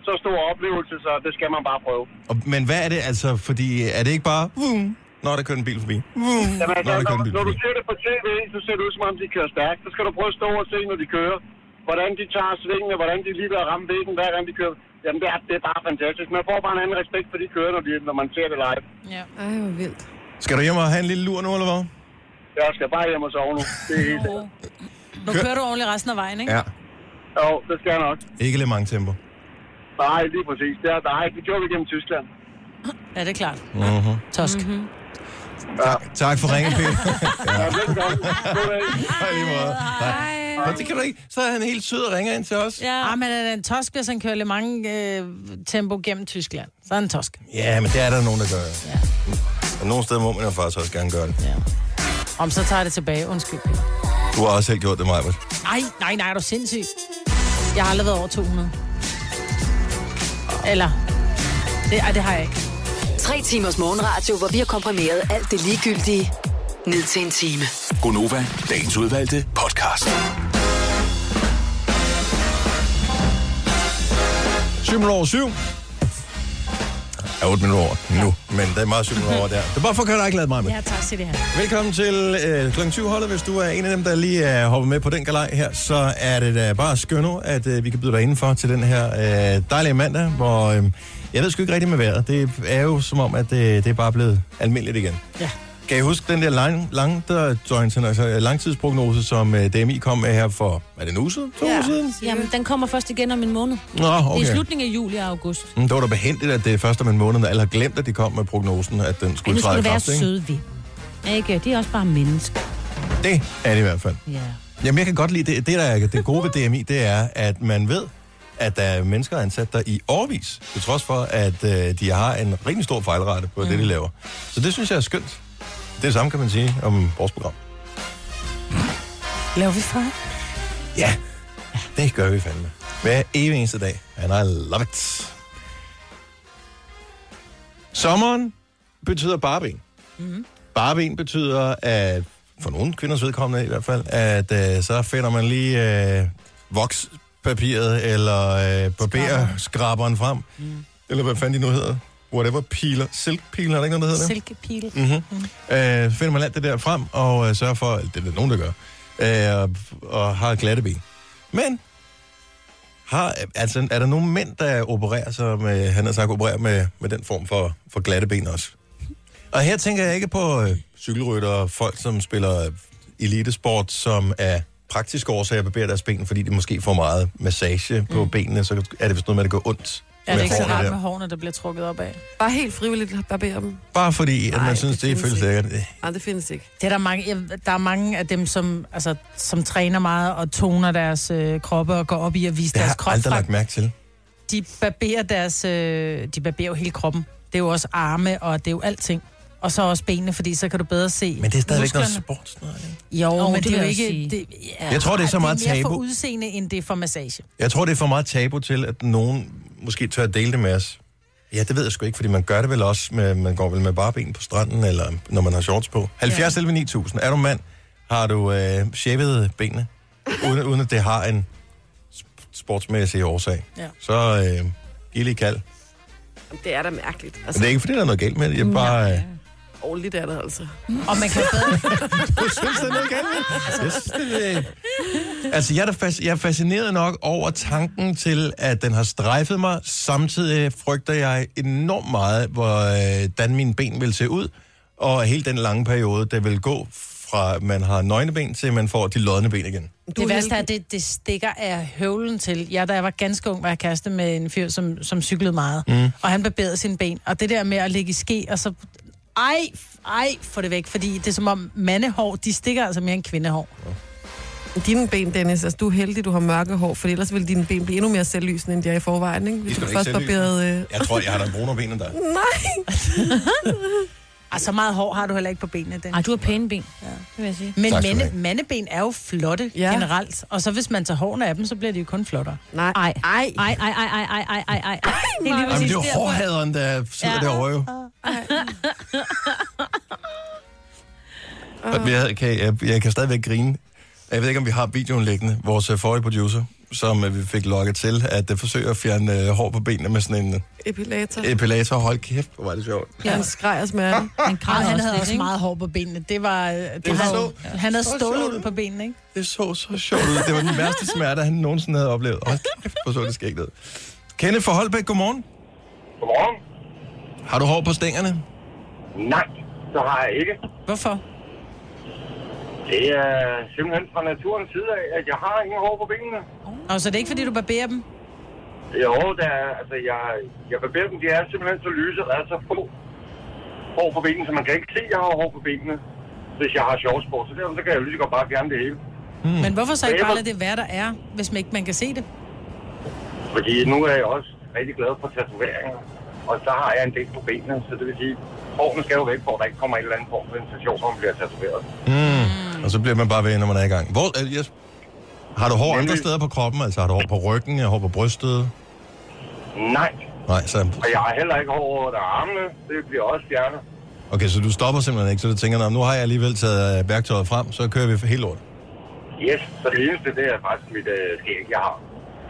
Speaker 8: så stor oplevelse, så det skal man bare prøve.
Speaker 1: Og, men hvad er det altså? Fordi er det ikke bare... Vroom, når der kører en bil forbi. Vroom,
Speaker 8: Jamen, altså,
Speaker 1: når der kører en
Speaker 8: når,
Speaker 1: bil
Speaker 8: når du
Speaker 1: forbi.
Speaker 8: ser det på tv, så ser det ud, som om de kører stærkt. Så skal du prøve at stå og se, når de kører. Hvordan de tager svingene, hvordan de lige ved at ramme væggen, hver gang de kører. Jamen, det er, det er bare fantastisk. Man får bare en anden respekt for de kører, når, de, når man ser det live.
Speaker 5: Ej, hvor vildt.
Speaker 1: Skal du hjem og have en lille lur nu, eller hvad?
Speaker 8: Jeg skal bare hjem og sove nu. Det er helt...
Speaker 4: Nu kører du ordentligt resten af vejen, ikke?
Speaker 1: Ja.
Speaker 8: Jo, det skal jeg nok.
Speaker 1: Ikke lidt mange tempo.
Speaker 8: Nej, lige præcis. Det er dig. Det gjorde vi gennem Tyskland.
Speaker 4: Ja, det er klart. Mm-hmm. Tosk. Mm-hmm. <laughs>
Speaker 1: Tak for ringen,
Speaker 8: <laughs>
Speaker 1: Peter.
Speaker 8: Ja, velkommen. God dag.
Speaker 1: Hej, lige måde. Hej. Nå, det kan du ikke. Så er han helt sød og ringer ind til os.
Speaker 2: Ja.
Speaker 4: Ah, men er det en tosk, hvis han kører lidt mange øh, tempo gennem Tyskland? Så er han en tosk.
Speaker 1: Ja, men det er der nogen, der gør. Ja. Og nogle steder må man jo faktisk også gerne gøre det.
Speaker 4: Ja. Om så tager jeg det tilbage. Undskyld. Peter.
Speaker 1: Du har også selv gjort det, Majbert.
Speaker 4: Nej, nej, nej, er du sindssyg? Jeg har aldrig været over 200. Eller... Det, ej, det har jeg ikke.
Speaker 6: Tre timers morgenradio, hvor vi har komprimeret alt det ligegyldige ned til en time.
Speaker 7: Gonova, dagens udvalgte podcast.
Speaker 1: 7 minutter over 7. Ja, 8 minutter over nu, men det er meget 7 minutter over der. Det er bare for at gøre dig glad, Maja.
Speaker 4: Ja, tak. Se det her.
Speaker 1: Velkommen til øh, kl. 20-holdet. Hvis du er en af dem, der lige er hoppet med på den galej her, så er det da bare skønne, at øh, vi kan byde dig indenfor til den her øh, dejlige mandag, hvor øh, jeg ved sgu ikke rigtigt med vejret. Det er jo som om, at øh, det er bare blevet almindeligt igen.
Speaker 4: Ja.
Speaker 1: Kan I huske den der lang, lang der joint, altså, langtidsprognose, som øh, DMI kom med her for, er det en uge siden? To ja. uger siden?
Speaker 2: Jamen, den kommer først igen om en måned.
Speaker 1: Nå, okay.
Speaker 2: Okay. Det er slutningen af juli og august.
Speaker 1: Mm, Det var da behendigt, at det er først om en måned, at alle har glemt, at de kom med prognosen, at den
Speaker 2: Men
Speaker 1: skulle
Speaker 2: nu skal
Speaker 1: træde i
Speaker 2: det være
Speaker 1: kraft. Ikke?
Speaker 2: søde ved. Ikke? De er også bare mennesker.
Speaker 1: Det er det i hvert fald.
Speaker 2: Ja.
Speaker 1: Jamen, jeg kan godt lide det. Det, der er det gode ved DMI, det er, at man ved, at der er mennesker ansat der i årvis, til trods for, at øh, de har en rimelig stor fejlrate på mm. det, de laver. Så det synes jeg er skønt. Det er det samme, kan man sige, om vores program.
Speaker 4: Laver vi fejl?
Speaker 1: Ja, det gør vi fandme. Hver evig eneste dag. And I love it. Sommeren betyder barben. Mm-hmm. Barben betyder, at for nogle kvinders vedkommende i hvert fald, at øh, så finder man lige øh, vokspapiret, eller øh, barberskraberen frem. Mm. Eller hvad fanden de nu hedder. Whatever, piler. Silkpiler, er det ikke noget, der hedder?
Speaker 4: Silkepil.
Speaker 1: Øh, så finder man alt det der frem og øh, sørger for, eller det er der nogen, der gør, øh, og, og har glatte ben. Men har, altså, er der nogen mænd, der opererer, som øh, han har sagt, opererer med, med den form for, for glatte ben også? Og her tænker jeg ikke på øh, cykelrytter og folk, som spiller øh, elitesport, som er praktiske årsager barberer deres ben, fordi de måske får meget massage på mm. benene, så er det vist noget med, at det går ondt.
Speaker 4: Ja, det er
Speaker 1: med
Speaker 4: ikke så
Speaker 1: hårene
Speaker 4: rart
Speaker 1: der.
Speaker 4: med hårene, der bliver trukket op af.
Speaker 5: Bare helt frivilligt barberer dem.
Speaker 1: Bare fordi, at man
Speaker 5: Nej,
Speaker 1: synes,
Speaker 5: det
Speaker 1: det, det
Speaker 5: findes
Speaker 1: føles
Speaker 5: ikke.
Speaker 1: lækkert. Øh,
Speaker 5: Nej, det findes ikke.
Speaker 4: Det er der, mange, jeg- der er mange af dem, som, altså, som træner meget og toner deres øh, kroppe og går op i at vise
Speaker 1: Det
Speaker 4: deres
Speaker 1: har jeg
Speaker 4: krop
Speaker 1: aldrig
Speaker 4: frem.
Speaker 1: lagt mærke til.
Speaker 4: De barberer deres... Øh, de barberer jo hele kroppen. Det er jo også arme, og det er jo alting. Og så også benene, fordi så kan du bedre se
Speaker 1: Men det er stadigvæk noget
Speaker 4: musklerne.
Speaker 1: sport. Noget af det.
Speaker 4: Jo,
Speaker 2: Åh,
Speaker 4: men
Speaker 2: det
Speaker 4: det,
Speaker 2: vil
Speaker 4: er jo
Speaker 2: jeg også
Speaker 4: ikke...
Speaker 2: sige.
Speaker 4: Det, ja,
Speaker 1: Jeg tror, det er så meget
Speaker 4: Det er mere for
Speaker 1: tabu.
Speaker 4: udseende, end det er for massage.
Speaker 1: Jeg tror, det er for meget tabu til, at nogen måske tør at dele det med os. Ja, det ved jeg sgu ikke, fordi man gør det vel også, med, man går vel med bare ben på stranden, eller når man har shorts på. 70 11 9000. Er du mand, har du øh, shavet benene, uden, uden at det har en sp- sportsmæssig årsag.
Speaker 4: Ja.
Speaker 1: Så øh, giv lige kald. Men
Speaker 5: Jamen, det er da mærkeligt. Altså,
Speaker 1: det er ikke, fordi der er noget galt med det. Jeg bare... Øh,
Speaker 5: ordentligt er det altså.
Speaker 4: Og man kan
Speaker 1: <laughs>
Speaker 4: bedre...
Speaker 1: Du synes, det er noget galt med? Jeg synes, det er- Altså, jeg er, da fas- jeg er fascineret nok over tanken til, at den har strejfet mig. Samtidig frygter jeg enormt meget, hvordan mine ben vil se ud, og hele den lange periode, der vil gå fra, at man har nøgne ben, til man får de lodne ben igen.
Speaker 5: Du
Speaker 4: Det
Speaker 5: er
Speaker 4: værste er,
Speaker 5: heldig.
Speaker 4: det, det stikker af høvlen til. Jeg, da jeg var ganske ung, var jeg kæreste med en fyr, som, som cyklede meget. Mm. Og han barberede sine ben. Og det der med at ligge i ske, og så... Ej, ej, få det væk. Fordi det er som om mandehår, de stikker altså mere end kvindehår.
Speaker 5: Dine ben, Dennis, altså du er heldig, du har mørke hår, for ellers ville dine ben blive endnu mere selvlysende, end de er i forvejen, ikke? Hvis
Speaker 1: skal
Speaker 5: du
Speaker 1: da
Speaker 5: først
Speaker 1: ikke selvlysende.
Speaker 5: barberede... Øh...
Speaker 1: Jeg tror, jeg har da brunere ben end
Speaker 5: Uh.
Speaker 1: dig.
Speaker 5: <laughs> Nej!
Speaker 4: Og så meget hår har du heller ikke på benene, den.
Speaker 2: Ej, du har pæne ben. Ja. Det vil jeg sige.
Speaker 4: Men
Speaker 1: Tak skal du
Speaker 4: mande,
Speaker 1: have.
Speaker 4: mandeben er jo flotte ja.
Speaker 5: Ja.
Speaker 4: generelt. Og så hvis man tager hårene af dem, så bliver de jo kun flottere.
Speaker 5: Nej.
Speaker 2: Ej.
Speaker 5: Ej.
Speaker 2: Ej, ej, ej, ej, ej, ej, ej, ej. Det er lige
Speaker 1: Jamen, det
Speaker 2: præcis
Speaker 1: er jo
Speaker 2: der, hvor-
Speaker 1: hårdhaderen, der sidder ja.
Speaker 2: Ja.
Speaker 1: derovre jo. Og jeg, kan, jeg, jeg kan stadigvæk grine. Jeg ved ikke, om vi har videoen liggende. Vores øh, forrige producer, som øh, vi fik lokket til, at det forsøger at fjerne øh, hår på benene med sådan en øh,
Speaker 5: Epilator.
Speaker 1: epilator. Hold kæft, hvor var det sjovt.
Speaker 5: Ja. Han skreg og smerte.
Speaker 2: Han
Speaker 4: Og
Speaker 2: kræver
Speaker 4: han
Speaker 2: også
Speaker 4: havde
Speaker 2: lidt,
Speaker 4: også
Speaker 2: ikke?
Speaker 4: meget hår på benene. Det var... øh, Det
Speaker 1: var
Speaker 4: var,
Speaker 1: så-
Speaker 4: han havde
Speaker 1: så
Speaker 4: stålul
Speaker 1: sjovt.
Speaker 4: på benene, ikke?
Speaker 1: Det så så sjovt ud. Det var den værste smerte, han nogensinde havde oplevet. Hold kæft, hvor så det skægt ud. Kenneth for Holbæk, godmorgen.
Speaker 8: Godmorgen.
Speaker 1: Har du hår på stængerne?
Speaker 8: Nej, så har jeg ikke.
Speaker 4: Hvorfor?
Speaker 8: Det er simpelthen fra naturens side af, at jeg har ingen hår på benene.
Speaker 4: Og så er det ikke, fordi du barberer dem?
Speaker 8: Jo, der er, altså, jeg, jeg barberer dem, de er simpelthen så lyse, og der er så få hår på benene, så man kan ikke se, at jeg har hår på benene, hvis jeg har shorts på. Så derfor så kan jeg jo lige så godt bare fjerne det hele.
Speaker 4: Mm. Men hvorfor så ikke
Speaker 8: Barber-
Speaker 4: bare lade det være, der er, hvis man ikke man kan se det?
Speaker 8: Fordi nu er jeg også rigtig glad for tatoveringer, og så har jeg en del på benene, så det vil sige, hårene skal jo væk, hvor der ikke kommer en eller anden form for sensation, når man bliver tatoveret.
Speaker 1: Mm. Og så bliver man bare ved, når man er i gang. Hvor, øh, yes. Har du hår andre
Speaker 8: Nemlig.
Speaker 1: steder på kroppen? Altså har du hår på ryggen, hår på brystet?
Speaker 8: Nej,
Speaker 1: Nej, så...
Speaker 8: og jeg har heller ikke hår over der armene, det bliver også fjernet.
Speaker 1: Okay, så du stopper simpelthen ikke, så du tænker, "Nå, nu har jeg alligevel taget øh, værktøjet frem, så kører vi for helt lort.
Speaker 8: Yes, så det eneste, det er faktisk mit øh, skæg, jeg
Speaker 4: <laughs>
Speaker 8: har.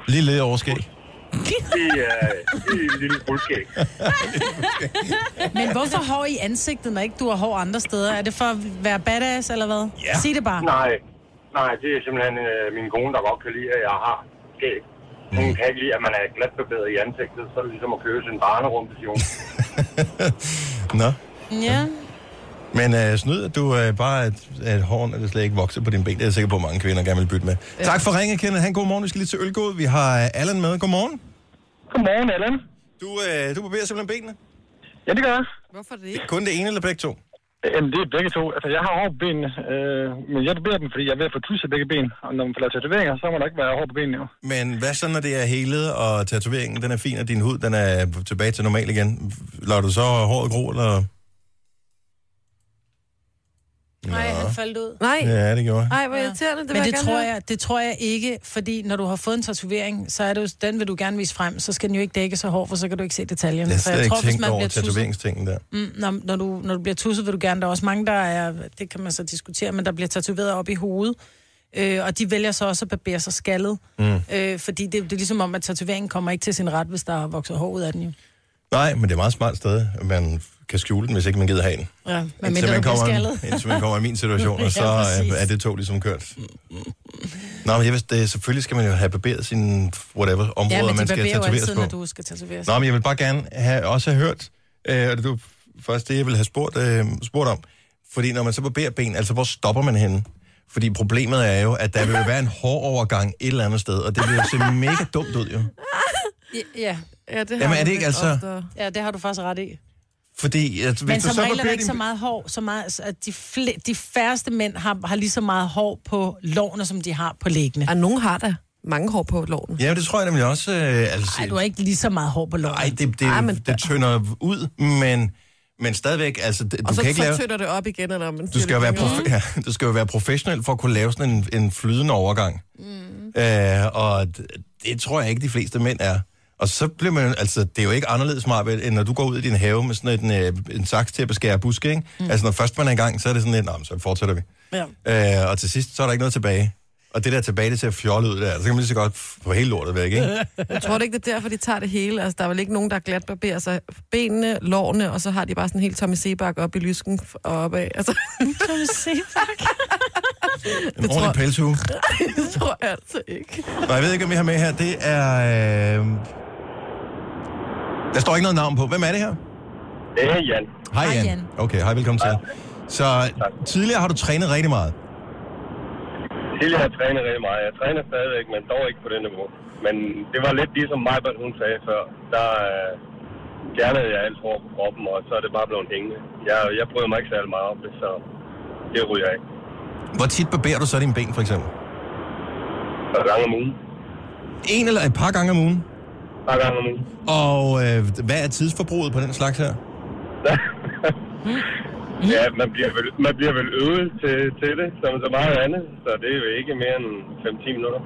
Speaker 1: Lige lidt overskæg. <laughs>
Speaker 8: Det er øh, en lille fuldskæg.
Speaker 4: Men hvorfor hår i ansigtet, når ikke du har hår andre steder? Er det for at være badass, eller hvad?
Speaker 1: Ja.
Speaker 4: Sig det bare.
Speaker 8: Nej, nej, det er simpelthen øh, min kone, der godt kan lide, at jeg har skæg. Hun kan ikke lide, at man er glatbarberet i ansigtet, så er det ligesom at købe sin barnerum, det siger hun.
Speaker 1: Nå,
Speaker 4: Ja.
Speaker 1: men øh, snyd, at du øh, bare, at, at hården er det slet ikke vokser på din ben. Det er jeg sikker på, at mange kvinder gerne vil bytte med. Ja. Tak for ringet, Kenneth. Han, god morgen. Vi skal lige til Ølgod. Vi har øh, Allan med. Godmorgen.
Speaker 8: Godmorgen, Allan.
Speaker 1: Du, øh, du barberer simpelthen benene.
Speaker 8: Ja, det gør jeg.
Speaker 5: Hvorfor det ikke?
Speaker 1: Kun det ene eller begge to?
Speaker 8: Jamen, det er begge to. Altså, jeg har hår på benene, øh, men jeg barberer dem, fordi jeg er ved at få tusset begge ben. Og når man får lavet tatoveringer, så må der ikke være hår på benene, jo.
Speaker 1: Men hvad så, når det er helet, og tatoveringen den er fin, og din hud den er tilbage til normal igen? Lader du så håret gro, eller?
Speaker 2: Nej, han faldt ud.
Speaker 5: Nej,
Speaker 1: Ja, det gjorde jeg.
Speaker 5: nej, hvor irriterende. Det vil
Speaker 4: Men det
Speaker 5: jeg
Speaker 4: tror,
Speaker 5: jeg...
Speaker 4: jeg, det tror jeg ikke, fordi når du har fået en tatovering, så er det jo, den vil du gerne vise frem, så skal den jo ikke dække så hård, for så kan du ikke se detaljerne.
Speaker 1: Jeg har
Speaker 4: Så
Speaker 1: slet ikke
Speaker 4: altså, hvis
Speaker 1: tænkt
Speaker 4: man
Speaker 1: over
Speaker 4: bliver tusset-
Speaker 1: tatoveringstingen der.
Speaker 4: Mm, når, når, du, når du bliver tusset, vil du gerne. Der er også mange, der er, det kan man så diskutere, men der bliver tatoveret op i hovedet. Øh, og de vælger så også at barbere sig skaldet. Mm. Øh, fordi det, det er ligesom om, at tatoveringen kommer ikke til sin ret, hvis der vokser hår ud af den jo.
Speaker 1: Nej, men det er meget smart sted, at man kan skjule den, hvis ikke man gider have den.
Speaker 4: Ja, men
Speaker 1: Indtil
Speaker 4: mindre du
Speaker 1: man,
Speaker 4: bliver
Speaker 1: kommer,
Speaker 4: skaldet.
Speaker 1: <laughs> indtil man
Speaker 4: <laughs>
Speaker 1: kommer i min situation,
Speaker 4: Ja,
Speaker 1: og så øh,
Speaker 4: præcis.
Speaker 1: er- er det tog ligesom kørt. Nå, men jeg vidste, det, selvfølgelig skal man jo have barberet sine whatever
Speaker 4: Ja,
Speaker 1: områder,
Speaker 4: men de
Speaker 1: man skal
Speaker 4: barberer jo
Speaker 1: tatoveres
Speaker 4: altid,
Speaker 1: på.
Speaker 4: når du øh, skal tatoveres.
Speaker 1: Nå, men jeg vil bare gerne have, også have hørt, øh, og det var først det, jeg ville have spurgt, øh, spurgt om. Fordi når man så barberer ben, altså hvor stopper man henne? Fordi problemet er jo, at der vil jo være en hård overgang et eller andet sted, og det vil jo se mega dumt ud jo.
Speaker 4: Ja,
Speaker 5: Ja, det har
Speaker 1: Jamen, er
Speaker 5: jeg
Speaker 1: det ikke
Speaker 5: lidt
Speaker 1: altså-
Speaker 5: oftere.
Speaker 4: ja, det har du faktisk ret i.
Speaker 1: Fordi at, hvis
Speaker 4: Men
Speaker 1: du
Speaker 4: som
Speaker 1: så
Speaker 4: regel er der
Speaker 1: barberer
Speaker 4: ikke så
Speaker 1: din...
Speaker 4: meget hår, så meget, at de, fl- de færreste mænd har, har lige så meget hår på lårene, som de har på læggene.
Speaker 5: Ej, nogen har da mange hår på loven.
Speaker 1: Ja, det tror jeg nemlig også. Øh, altså,
Speaker 4: Nej, du har ikke lige så meget hår på lårene.
Speaker 1: Ej, det, det,
Speaker 5: Ej, men
Speaker 1: det tynder ud, men, men stadigvæk, altså, det,
Speaker 5: Og
Speaker 1: du
Speaker 5: så,
Speaker 1: kan ikke
Speaker 5: så
Speaker 1: lave...
Speaker 5: tytter det op igen, eller man
Speaker 1: Du skal, jo være
Speaker 5: på...
Speaker 1: prof- ja, <laughs> du skal jo være professionel for at kunne lave sådan en, en flydende overgang. Mm. Øh, og det, det tror jeg ikke, de fleste mænd er. Og så bliver man, altså, det er jo ikke anderledes, Marbet, end når du går ud i din have med sådan en, øh, en saks til at beskære buske, ikke? Mm. Altså, når først man er i gang, så er det sådan lidt, "Nå, men så fortsætter vi. Ja. Øh, og til sidst, så er der ikke noget tilbage. Og det der tilbage, det ser fjollet ud der. Så kan man lige så godt få hele lortet
Speaker 5: <laughs>
Speaker 1: væk, ikke?
Speaker 5: Jeg tror det ikke, det er derfor, de tager det hele. Altså, der er vel ikke nogen, der glat barberer sig benene, lårene, og så har de bare sådan helt Tommy Sebak op i lysken og opad. Altså, <laughs>
Speaker 1: En ordentlig pelshue.
Speaker 5: <laughs> det tror jeg altså ikke.
Speaker 1: Nå, jeg ved ikke, om vi har med her. Det er... Øh... Der står ikke noget navn på. Hvem er det her?
Speaker 8: Det er Jan.
Speaker 1: Hej,
Speaker 4: Hej,
Speaker 1: Jan.
Speaker 4: Jan.
Speaker 1: Okay, hej, velkommen til. Så tidligere har du trænet rigtig meget.
Speaker 8: Tidligere har jeg trænet rigtig meget. Jeg træner stadigvæk, men dog ikke på den niveau. Men det var lidt ligesom Majbert, hun sagde før. Der øh, fjernede jeg alt hår på kroppen, og så er det bare blevet hængende. Jeg, jeg bryder mig ikke særlig meget om det, så det ryger jeg ikke.
Speaker 1: Hvor tit barberer du så dine ben, for eksempel?
Speaker 8: Et par gange om ugen.
Speaker 1: En eller et par gange om ugen.
Speaker 8: Et par gange om ugen.
Speaker 1: Og øh, hvad er tidsforbruget på den slags her?
Speaker 8: ja, man bliver, vel, man bliver vel øvet til, til det, som så meget andet. Så det er jo ikke mere end 5-10 minutter.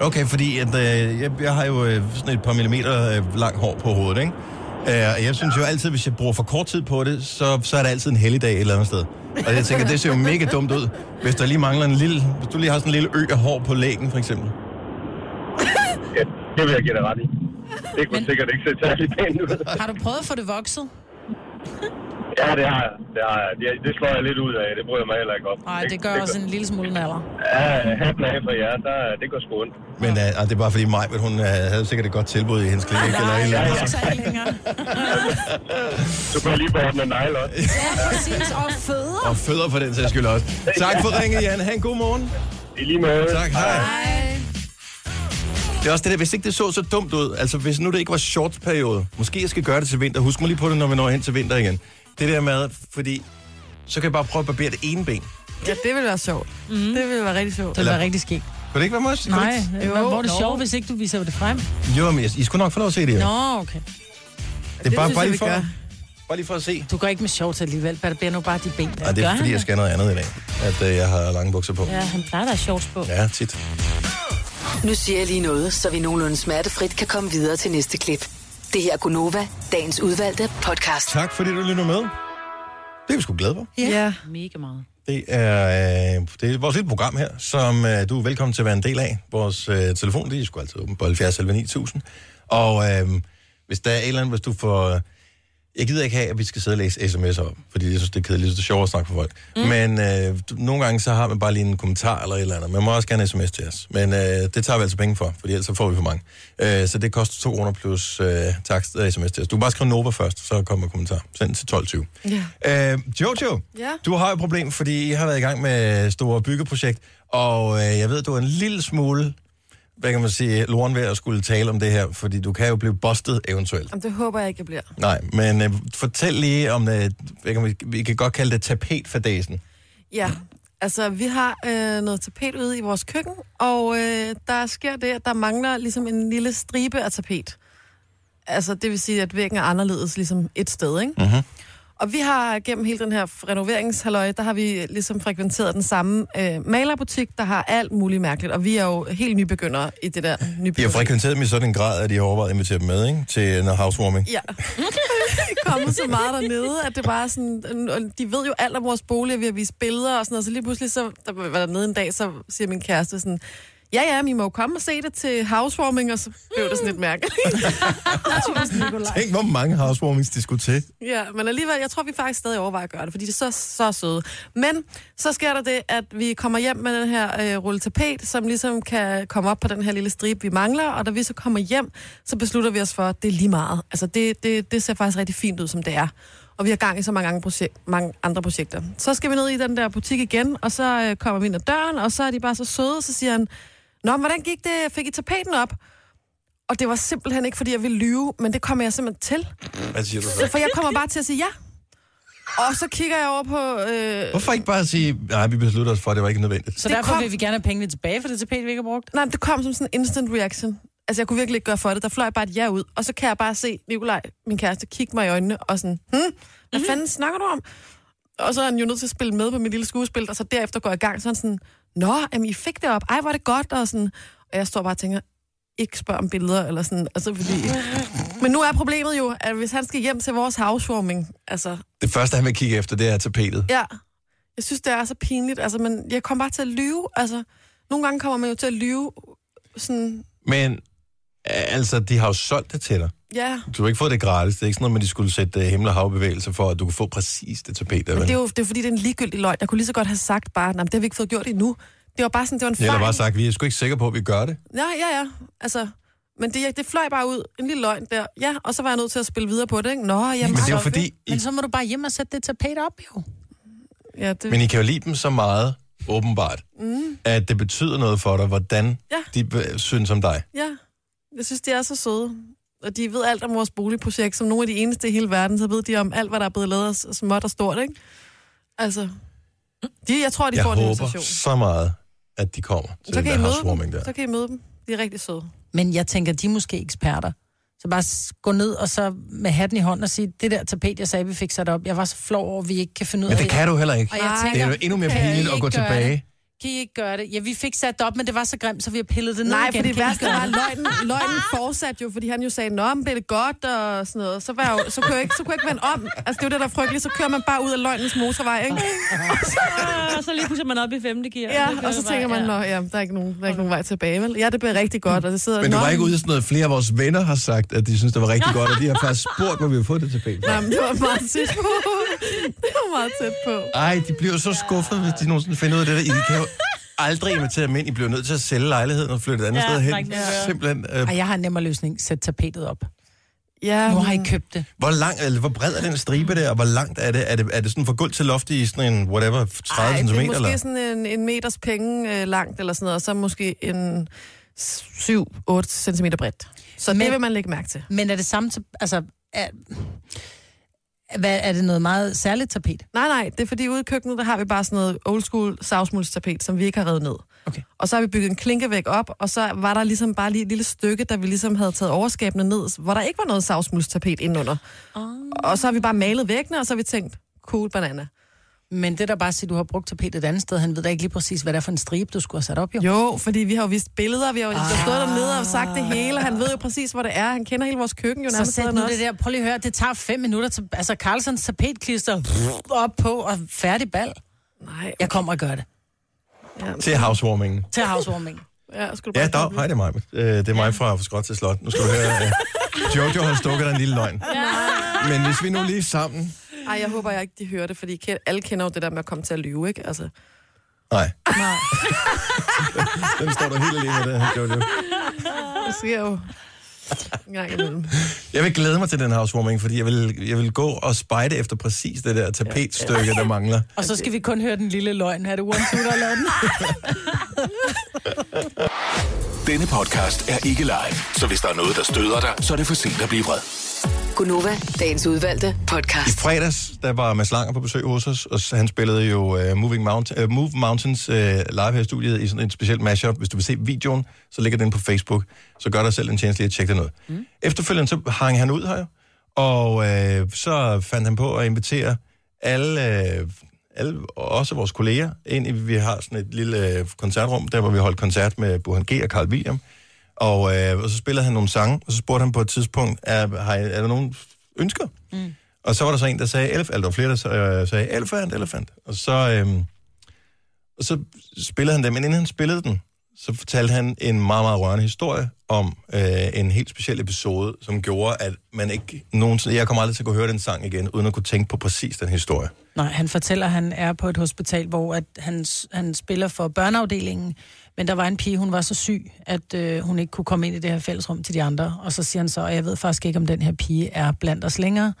Speaker 1: Okay, fordi at, øh, jeg, jeg har jo øh, sådan et par millimeter øh, lang hår på hovedet, ikke? Øh, og jeg synes jo altid, hvis jeg bruger for kort tid på det, så, så er det altid en helligdag et eller andet sted. Og jeg tænker, det ser jo mega dumt ud, hvis der lige mangler en lille... Hvis du lige har sådan en lille ø af hår på lægen, for eksempel.
Speaker 8: Ja, det vil jeg give dig ret i. Det kunne men... sikkert ikke se særlig pænt ud.
Speaker 4: Har du prøvet at få det vokset?
Speaker 8: Ja, det har jeg. Det, har jeg. Det, det slår jeg lidt ud af. Det bryder jeg mig heller ikke om.
Speaker 4: Nej, det gør også en lille smule naller.
Speaker 8: Ja, hatten af for jer, der, det går sgu ondt.
Speaker 1: Men øh, ah, det er bare fordi mig, hun øh, havde sikkert et godt tilbud i hendes klinik. eller et eller
Speaker 4: Ah, Nej,
Speaker 1: andet.
Speaker 4: det er så ikke længere.
Speaker 8: <laughs> Du kan lige på den af negle også.
Speaker 4: Ja, præcis. Og fødder.
Speaker 1: <laughs> Og fødder for den sags skyld også. Tak for ringet, Jan. Ha' en god morgen.
Speaker 8: I lige måde.
Speaker 1: Tak, hej. Det er også det der, hvis ikke det så så dumt ud, altså hvis nu det ikke var shortsperiode, måske jeg skal gøre det til vinter, husk mig lige på det, når vi når hen til vinter igen. Det der med, fordi så kan jeg bare prøve at barbere det ene ben.
Speaker 5: Ja, det ville være sjovt. Mm. Det ville være rigtig sjovt.
Speaker 4: Mhm. Det
Speaker 1: Eller-
Speaker 4: var rigtig skægt.
Speaker 1: Kunne det ikke være måske?
Speaker 4: Nej,
Speaker 5: Jo,
Speaker 4: men hvor er det
Speaker 5: nå.
Speaker 4: sjovt, hvis ikke du viser det frem?
Speaker 1: Jo, men I skulle nok få lov at se det jo.
Speaker 4: Nå, okay.
Speaker 1: det er bare,
Speaker 5: synes
Speaker 1: bare,
Speaker 5: jeg,
Speaker 1: lige
Speaker 5: vi
Speaker 1: for,
Speaker 5: gør.
Speaker 1: bare lige for at se.
Speaker 4: Du går ikke med sjovt alligevel, bare det bliver nu bare de ben. Der.
Speaker 1: Og Ah, det
Speaker 4: Gør
Speaker 1: er
Speaker 4: han
Speaker 1: fordi, jeg skal noget andet i dag, at øh, jeg har lange bukser på.
Speaker 2: Ja, han plejer der shorts på.
Speaker 1: Ja, tit.
Speaker 6: Nu siger jeg lige noget, så vi nogenlunde smertefrit kan komme videre til næste klip. Det her er Gunova, dagens udvalgte podcast.
Speaker 1: Tak fordi du lytter med. Det er vi sgu glade for.
Speaker 5: Ja. ja.
Speaker 2: Mega meget.
Speaker 1: Det er, øh, det er vores lille program her, som øh, du er velkommen til at være en del af. Vores øh, telefon, det er sgu altid åben på 70 11 9000. Og øh, hvis der er et eller andet, hvis du får... Jeg gider ikke have, at vi skal sidde og læse sms'er op, fordi jeg synes, det er kedeligt, det er sjovt at snakke for folk. Mm. Men øh, du- nogle gange så har man bare lige en kommentar eller et eller andet. Man må også gerne sms til os, men øh, det tager vi altså penge for, fordi ellers så får vi for mange. Øh, så det koster 2 kroner plus øh, takst af sms til os. Du kan bare skrive Nova først, så kommer kommentar. Send til 12.20. Øh, Jojo,
Speaker 5: Ja.
Speaker 1: du har et problem, fordi I har været i gang med store byggeprojekt, og øh, jeg ved, du er en lille smule, hvad kan man sige, loren ved at skulle tale om det her, fordi du kan jo blive bustet eventuelt.
Speaker 5: Jamen, det håber jeg ikke, jeg bliver.
Speaker 1: Nej, men øh, fortæl lige om, øh, hvad kan man, vi kan godt kalde det tapetfadesen.
Speaker 5: Ja, altså vi har øh, noget tapet ude i vores køkken, og øh, der sker det, at der mangler ligesom en lille stribe af tapet. Altså det vil sige, at væggen er anderledes ligesom et sted,
Speaker 1: Mhm.
Speaker 5: ikke? Mm-hmm. Og vi har gennem hele den her renoveringshalløj, der har vi øh, ligesom frekventeret den samme øh, malerbutik, der har alt muligt mærkeligt. Og vi er jo helt nybegyndere i det der <laughs>
Speaker 1: De har
Speaker 5: nybegynder.
Speaker 1: frekventeret dem i sådan en grad, at de har overvejet at invitere dem med ikke? til øh, noget housewarming.
Speaker 5: Ja. kommet så meget dernede, at det bare er sådan... og De ved jo alt om vores bolig, vi har vist billeder og sådan noget, så lige pludselig, så der var dernede en dag, så siger min kæreste sådan... Ja, ja, men I må jo komme og se det til housewarming, og så blev det sådan lidt mærkeligt.
Speaker 1: Tænk, hvor mange housewarmings de skulle til.
Speaker 5: ja, men alligevel, jeg tror, vi faktisk stadig overvejer at gøre det, fordi det er så, så søde. Men så sker der det, at vi kommer hjem med den her øh, rulle tapet, som ligesom kan komme op på den her lille stribe, vi mangler, og da vi så kommer hjem, så beslutter vi os for, at det er lige meget. Altså, det, det, det ser faktisk rigtig fint ud, som det er. og vi har gang i så mange, andre projek- mange andre projekter. Så skal vi ned i den der butik igen, og så øh, kommer vi ind ad døren, og så er de bare så søde, og så siger han, Nå, men hvordan gik det? Fik I tapeten op? Og det var simpelthen ikke, fordi jeg ville lyve, men det kommer jeg simpelthen til.
Speaker 1: Hvad siger du
Speaker 5: For jeg kommer bare til at sige ja. Og så kigger jeg over på... Øh,
Speaker 1: Hvorfor ikke bare sige, nej, vi beslutter os for, at det var ikke nødvendigt?
Speaker 4: Så
Speaker 5: Det
Speaker 4: derfor
Speaker 5: kom-
Speaker 4: vil vi gerne have pengene tilbage for det tapet, vi ikke har brugt.
Speaker 5: nej, men det kom som sådan en instant reaction. Altså, jeg kunne virkelig ikke gøre for det. Der fløj jeg bare et ja ud. Og så kan jeg bare se Nikolaj, min kæreste, kigge mig i øjnene og sådan, hm, hvad
Speaker 4: Mhm.
Speaker 5: mm-hmm. fanden snakker du om? Og så er han jo nødt til at spille med på mit lille skuespil, og så derefter går jeg i gang, så er han sådan, Nå, jamen, I fik det op, ej, hvor er det godt, og sådan. Og jeg står bare og tænker, ikke spørg om billeder, eller sådan, altså fordi...
Speaker 4: <laughs>
Speaker 5: Men nu er problemet jo, at hvis han skal hjem til vores housewarming, altså,
Speaker 1: Det første, han vil kigge efter, det er tapetet.
Speaker 5: ja, jeg synes, det er så pinligt, altså, men jeg kommer bare til at lyve, altså, nogle gange kommer man jo til at lyve, sådan,
Speaker 1: Men øh, altså, de har jo solgt det til dig.
Speaker 5: ja,
Speaker 1: Du har ikke fået det gratis. Det er ikke sådan noget, med, at de skulle sætte øh, himmel- og havbevægelser for, at du kunne få præcis det tapet, der
Speaker 5: men
Speaker 1: vel?
Speaker 5: det er jo det er, jo fordi, det er en ligegyldig løgn. Jeg kunne lige så godt have sagt bare, nej, det har vi ikke fået gjort endnu. Det var bare sådan, det var en fejl. Mm.
Speaker 1: Eller bare sagt, vi er sgu ikke sikre på, at vi gør det.
Speaker 5: Ja, ja, ja. Altså, men det, det fløj bare ud. En lille løgn der. Ja, og så var jeg nødt til at spille videre på det, ikke? Nå, jamen,
Speaker 1: Men det er jo
Speaker 5: så-
Speaker 1: fordi, I,
Speaker 4: Men så må du bare hjem og sætte det tapet op, jo.
Speaker 5: Ja, det, Mm.
Speaker 1: men I kan jo lide dem så meget, åbenbart, at det betyder noget for dig, hvordan
Speaker 5: Ja.
Speaker 1: de øh, synes om dig.
Speaker 5: ja, jeg synes, de er så søde. Og de ved alt om vores boligprojekt. Som nogle af de eneste i hele verden, så ved de om alt, hvad der er blevet lavet s- småt og stort, ikke? Altså, de, jeg tror, de
Speaker 1: Jeg
Speaker 5: får en
Speaker 1: håber
Speaker 5: invitation.
Speaker 1: så meget, at de kommer til
Speaker 5: Så
Speaker 1: den
Speaker 5: kan, I
Speaker 1: der
Speaker 5: møde
Speaker 1: housewarming
Speaker 5: dem.
Speaker 1: der.
Speaker 5: så kan I møde dem. De er rigtig søde.
Speaker 4: Men jeg tænker, de er måske eksperter. Så bare s- gå ned og så med hatten i hånden og sige, det der tapet, jeg sagde, vi fik sat op, jeg var så flov over, at vi ikke kan finde ud
Speaker 1: Men
Speaker 4: af
Speaker 1: det kan du heller ikke.
Speaker 4: Og jeg
Speaker 5: Nej.
Speaker 1: Det
Speaker 4: tænker,
Speaker 1: er jo endnu mere
Speaker 4: kan I
Speaker 1: pinligt at
Speaker 4: ikke gøre
Speaker 1: gå tilbage.
Speaker 4: Det? Kan I ikke gøre det? Ja, vi fik sat det op, men det var så grimt, så vi har pillet det ned
Speaker 5: Nej,
Speaker 4: igen.
Speaker 5: for det
Speaker 4: Kan I
Speaker 5: værste
Speaker 4: gøre
Speaker 5: var, at løgnen,
Speaker 2: <laughs>
Speaker 5: løgnen fortsatte jo, fordi han jo sagde, nå, men blev det godt og sådan noget. Så, var jeg jo, så, kunne jeg ikke, så kunne jeg ikke vende om. Altså, det er jo det, der er frygteligt. Så kører man bare ud af løgnens motorvej, ikke?
Speaker 2: Og <laughs> så lige pludselig er man op i femte gear.
Speaker 5: Ja, og så tænker man, nå, ja, der er ikke nogen, der er ikke nogen vej tilbage, vel? Ja, det bliver rigtig godt, og det sidder...
Speaker 1: Men du
Speaker 5: Nå,
Speaker 1: var ikke ude i sådan noget, flere af vores venner har sagt, at de synes, det var rigtig godt, og de har
Speaker 5: <laughs>
Speaker 1: faktisk spurgt, hvor vi har fået det tapet.
Speaker 5: Nej, men det var meget tæt på. <laughs> det var meget tæt på.
Speaker 1: Ej, de bliver jo så skuffet, hvis de nogensinde finder ud af det der. I kan jo aldrig invitere dem ind. I bliver nødt til at sælge lejligheden og flytte et andet
Speaker 2: Ja,
Speaker 1: sted
Speaker 2: tak,
Speaker 1: hen.
Speaker 2: det er.
Speaker 1: Simpelthen. Øh,
Speaker 4: Ej, jeg har en nemmere løsning. Sæt tapetet op.
Speaker 5: Ja,
Speaker 4: Nu har I købt det.
Speaker 1: hvor, lang, eller hvor bred er den stribe der, og hvor langt er det? Er det, er det sådan fra gulv til loft i sådan en, whatever, 30
Speaker 5: ej,
Speaker 1: cm?
Speaker 5: det er måske
Speaker 1: Eller?
Speaker 5: sådan en, en meters penge øh, langt, eller sådan noget, og så måske en 7-8 cm bredt. Så
Speaker 4: Men-
Speaker 5: det vil man lægge mærke til.
Speaker 4: Men er det samme... tap- Altså, er, hvad, er det noget meget særligt tapet?
Speaker 5: Nej, nej, det er fordi ude i køkkenet, der har vi bare sådan noget old school savsmuldstapet, som vi ikke har revet ned.
Speaker 4: Okay.
Speaker 5: Og så har vi bygget en klinkevæg op, og så var der ligesom bare lige et lille stykke, der vi ligesom havde taget overskabene ned, hvor der ikke var noget savsmuldstapet indenunder. Oh. Og så har vi bare malet væggene, og så har vi tænkt, cool banana.
Speaker 4: Men det der bare at sige, du har brugt tapetet et andet sted, han ved da ikke lige præcis, hvad det er for en stribe, du skulle have sat op, jo.
Speaker 5: Jo, fordi vi har jo vist billeder, vi har jo ah. stået dernede og sagt det hele, og han ved jo præcis, hvor det er. Han kender hele vores køkken jo
Speaker 4: Så
Speaker 5: nærmest.
Speaker 4: sæt
Speaker 5: bedre
Speaker 4: nu
Speaker 5: end os.
Speaker 4: det der, prøv lige at høre, det tager fem minutter til, altså Carlsons tapetklister op på og færdig bal.
Speaker 5: Nej,
Speaker 4: Jeg kommer og gør det.
Speaker 1: Til housewarmingen.
Speaker 4: Til housewarming.
Speaker 5: ja, skulle du
Speaker 1: Ja,
Speaker 5: bare
Speaker 1: dag. Hej, det er mig. Øh, Det er mig fra, fra Skråt til Slot. Nu skal du høre, øh, Jojo har stukket dig en lille løgn. Men hvis vi nu lige er sammen...
Speaker 5: Ej, jeg håber jeg ikke, de hører det, fordi ke- alle kender jo det der med at komme til at lyve, ikke?
Speaker 4: <laughs>
Speaker 5: Altså,
Speaker 1: Nej. <laughs> Den står der helt alene, der, Jojo.
Speaker 5: det sker jo en gang imellem.
Speaker 1: Jeg vil glæde mig til den housewarming, fordi jeg vil, jeg vil gå og spejde efter præcis det der tapetstykke, der mangler.
Speaker 4: Og så skal vi kun høre den lille løgn. Er det one, two, der laver den?
Speaker 7: Denne podcast er ikke live, så hvis der er noget, der støder dig, så er det for sent at blive vred.
Speaker 6: Gunova, dagens udvalgte
Speaker 1: I
Speaker 6: podcast.
Speaker 1: fredags, der var Mads Langer på besøg hos os, og han spillede jo uh, Moving Mountain, uh, Move Mountains uh, live her i studiet i sådan en speciel mashup. Hvis du vil se videoen, så ligger den på Facebook. Så gør dig selv en tjeneste lige at tjekke den ud. Mm. Efterfølgende så hang han ud her, og uh, så fandt han på at invitere alle, uh, alle, og også vores kolleger, ind i, vi har sådan et lille uh, koncertrum, der hvor vi holdt koncert med Burhan G. og Carl William. Og, øh, og så spillede han nogle sange, og så spurgte han på et tidspunkt, er, har, I- er der nogen ønsker? Mm. Og så var der så en, der sagde, elef, eller der var flere, der sa- øh, sagde, elefant, elefant. Og så, øhm, og så spillede han den, men inden han spillede den, så fortalte han en meget, meget rørende historie om øh, en helt speciel episode, som gjorde, at man ikke nogensinde... Jeg kommer aldrig til at kunne høre den sang igen, uden at kunne tænke på præcis den historie.
Speaker 4: Nej, han fortæller, at han er på et hospital, hvor at han, han spiller for børneafdelingen, men der var en pige, hun var så syg, at øh, hun ikke kunne komme ind i det her fællesrum til de andre. Og så siger han så, at jeg ved faktisk ikke, om den her pige er blandt os længere,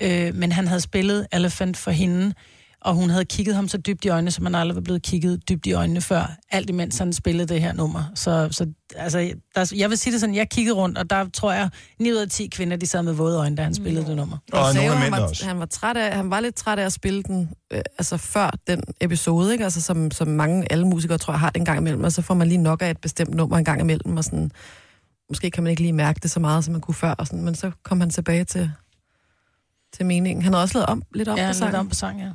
Speaker 4: øh, men han havde spillet Elephant for hende, og hun havde kigget ham så dybt i øjnene, som han aldrig var blevet kigget dybt i øjnene før, alt imens han spillede det her nummer. Så, så altså, der, jeg vil sige det sådan, jeg kiggede rundt, og der tror jeg, 9 ud af 10 kvinder, de sad med våde øjne, da han spillede det nummer.
Speaker 1: Og, og
Speaker 5: sagde
Speaker 1: nogle
Speaker 5: jo,
Speaker 1: af
Speaker 5: han,
Speaker 1: mændene
Speaker 5: var,
Speaker 1: også.
Speaker 5: han var, træt af, han var lidt træt af at spille den, øh, altså før den episode, ikke? Altså, som, som mange, alle musikere tror jeg har den gang imellem, og så får man lige nok af et bestemt nummer en gang imellem, og sådan, måske kan man ikke lige mærke det så meget, som man kunne før, og sådan, men så kom han tilbage til, til meningen. Han havde også lavet om, lidt om
Speaker 4: Ja,
Speaker 5: på
Speaker 4: lidt
Speaker 5: sangen.
Speaker 4: om på sang, ja.